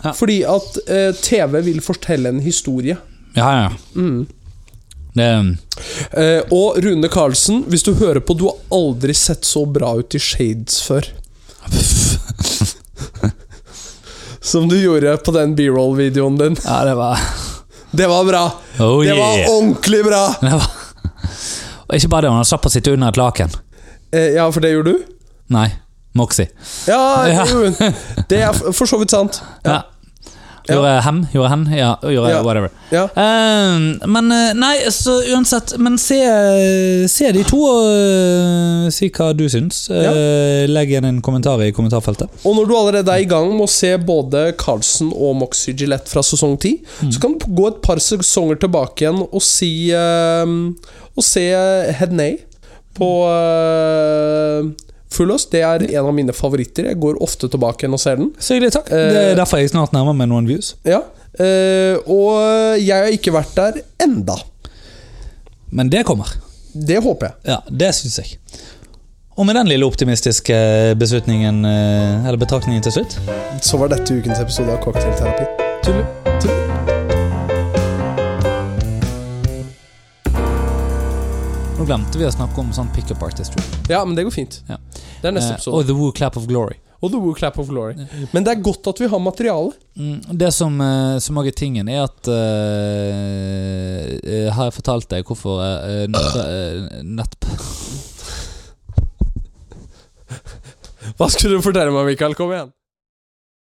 Speaker 1: Ja.
Speaker 2: Fordi at eh, TV vil fortelle en historie.
Speaker 1: ja, ja. Mm. Det,
Speaker 2: Eh, og Rune Karlsen, hvis du hører på, du har aldri sett så bra ut i shades før. Som du gjorde på den B-roll-videoen din.
Speaker 1: ja, det var
Speaker 2: Det var bra!
Speaker 1: Oh,
Speaker 2: det var
Speaker 1: yeah.
Speaker 2: ordentlig bra!
Speaker 1: Det var... Og ikke bare det, han slapp å sitte under et laken.
Speaker 2: Eh, ja, for det gjorde du?
Speaker 1: Nei, Moxie.
Speaker 2: Ja,
Speaker 1: Ja.
Speaker 2: det gjorde hun. Det er f- for så vidt sant.
Speaker 1: Ja. Gjorde hem, gjorde hen, ja, gjorde
Speaker 2: Ja.
Speaker 1: whatever.
Speaker 2: Ja.
Speaker 1: Ehm, men eh, nei, så uansett Men se, eh, se de to og eh, si hva du syns. Eh, Legg igjen en kommentar i kommentarfeltet.
Speaker 2: Og når du allerede er i gang med å se både Carlsen og Moxie Gillette fra sesong 10, så kan du gå et par sesonger tilbake igjen og si eh, Og se Hedney på uh, Full House. Det er en av mine favoritter. Jeg går ofte tilbake igjen og ser den.
Speaker 1: Så hyggelig, takk.
Speaker 2: Eh,
Speaker 1: det er derfor jeg snart nærmer meg noen views.
Speaker 2: Ja. Eh, og jeg har ikke vært der enda.
Speaker 1: Men det kommer.
Speaker 2: Det håper jeg.
Speaker 1: Ja, det syns jeg. Og med den lille optimistiske beslutningen eh, Eller betraktningen til slutt
Speaker 2: Så var dette ukens episode av Cocktailterapi. Tuller. Tuller.
Speaker 1: Nå glemte vi å snakke om sånn pickup artistry.
Speaker 2: Ja, men det går fint.
Speaker 1: Ja.
Speaker 2: Det er neste
Speaker 1: Eh,
Speaker 2: episode.
Speaker 1: og The Woo Clap of Glory.
Speaker 2: Og The Woo Clap of Glory. Men det er godt at vi har materiale.
Speaker 1: Mm, Det som, eh, som også er tingen, er at eh, eh, Har jeg fortalt deg hvorfor eh, nett, eh, nett,
Speaker 2: Hva skulle du fortelle meg, Mikael? Kom igjen.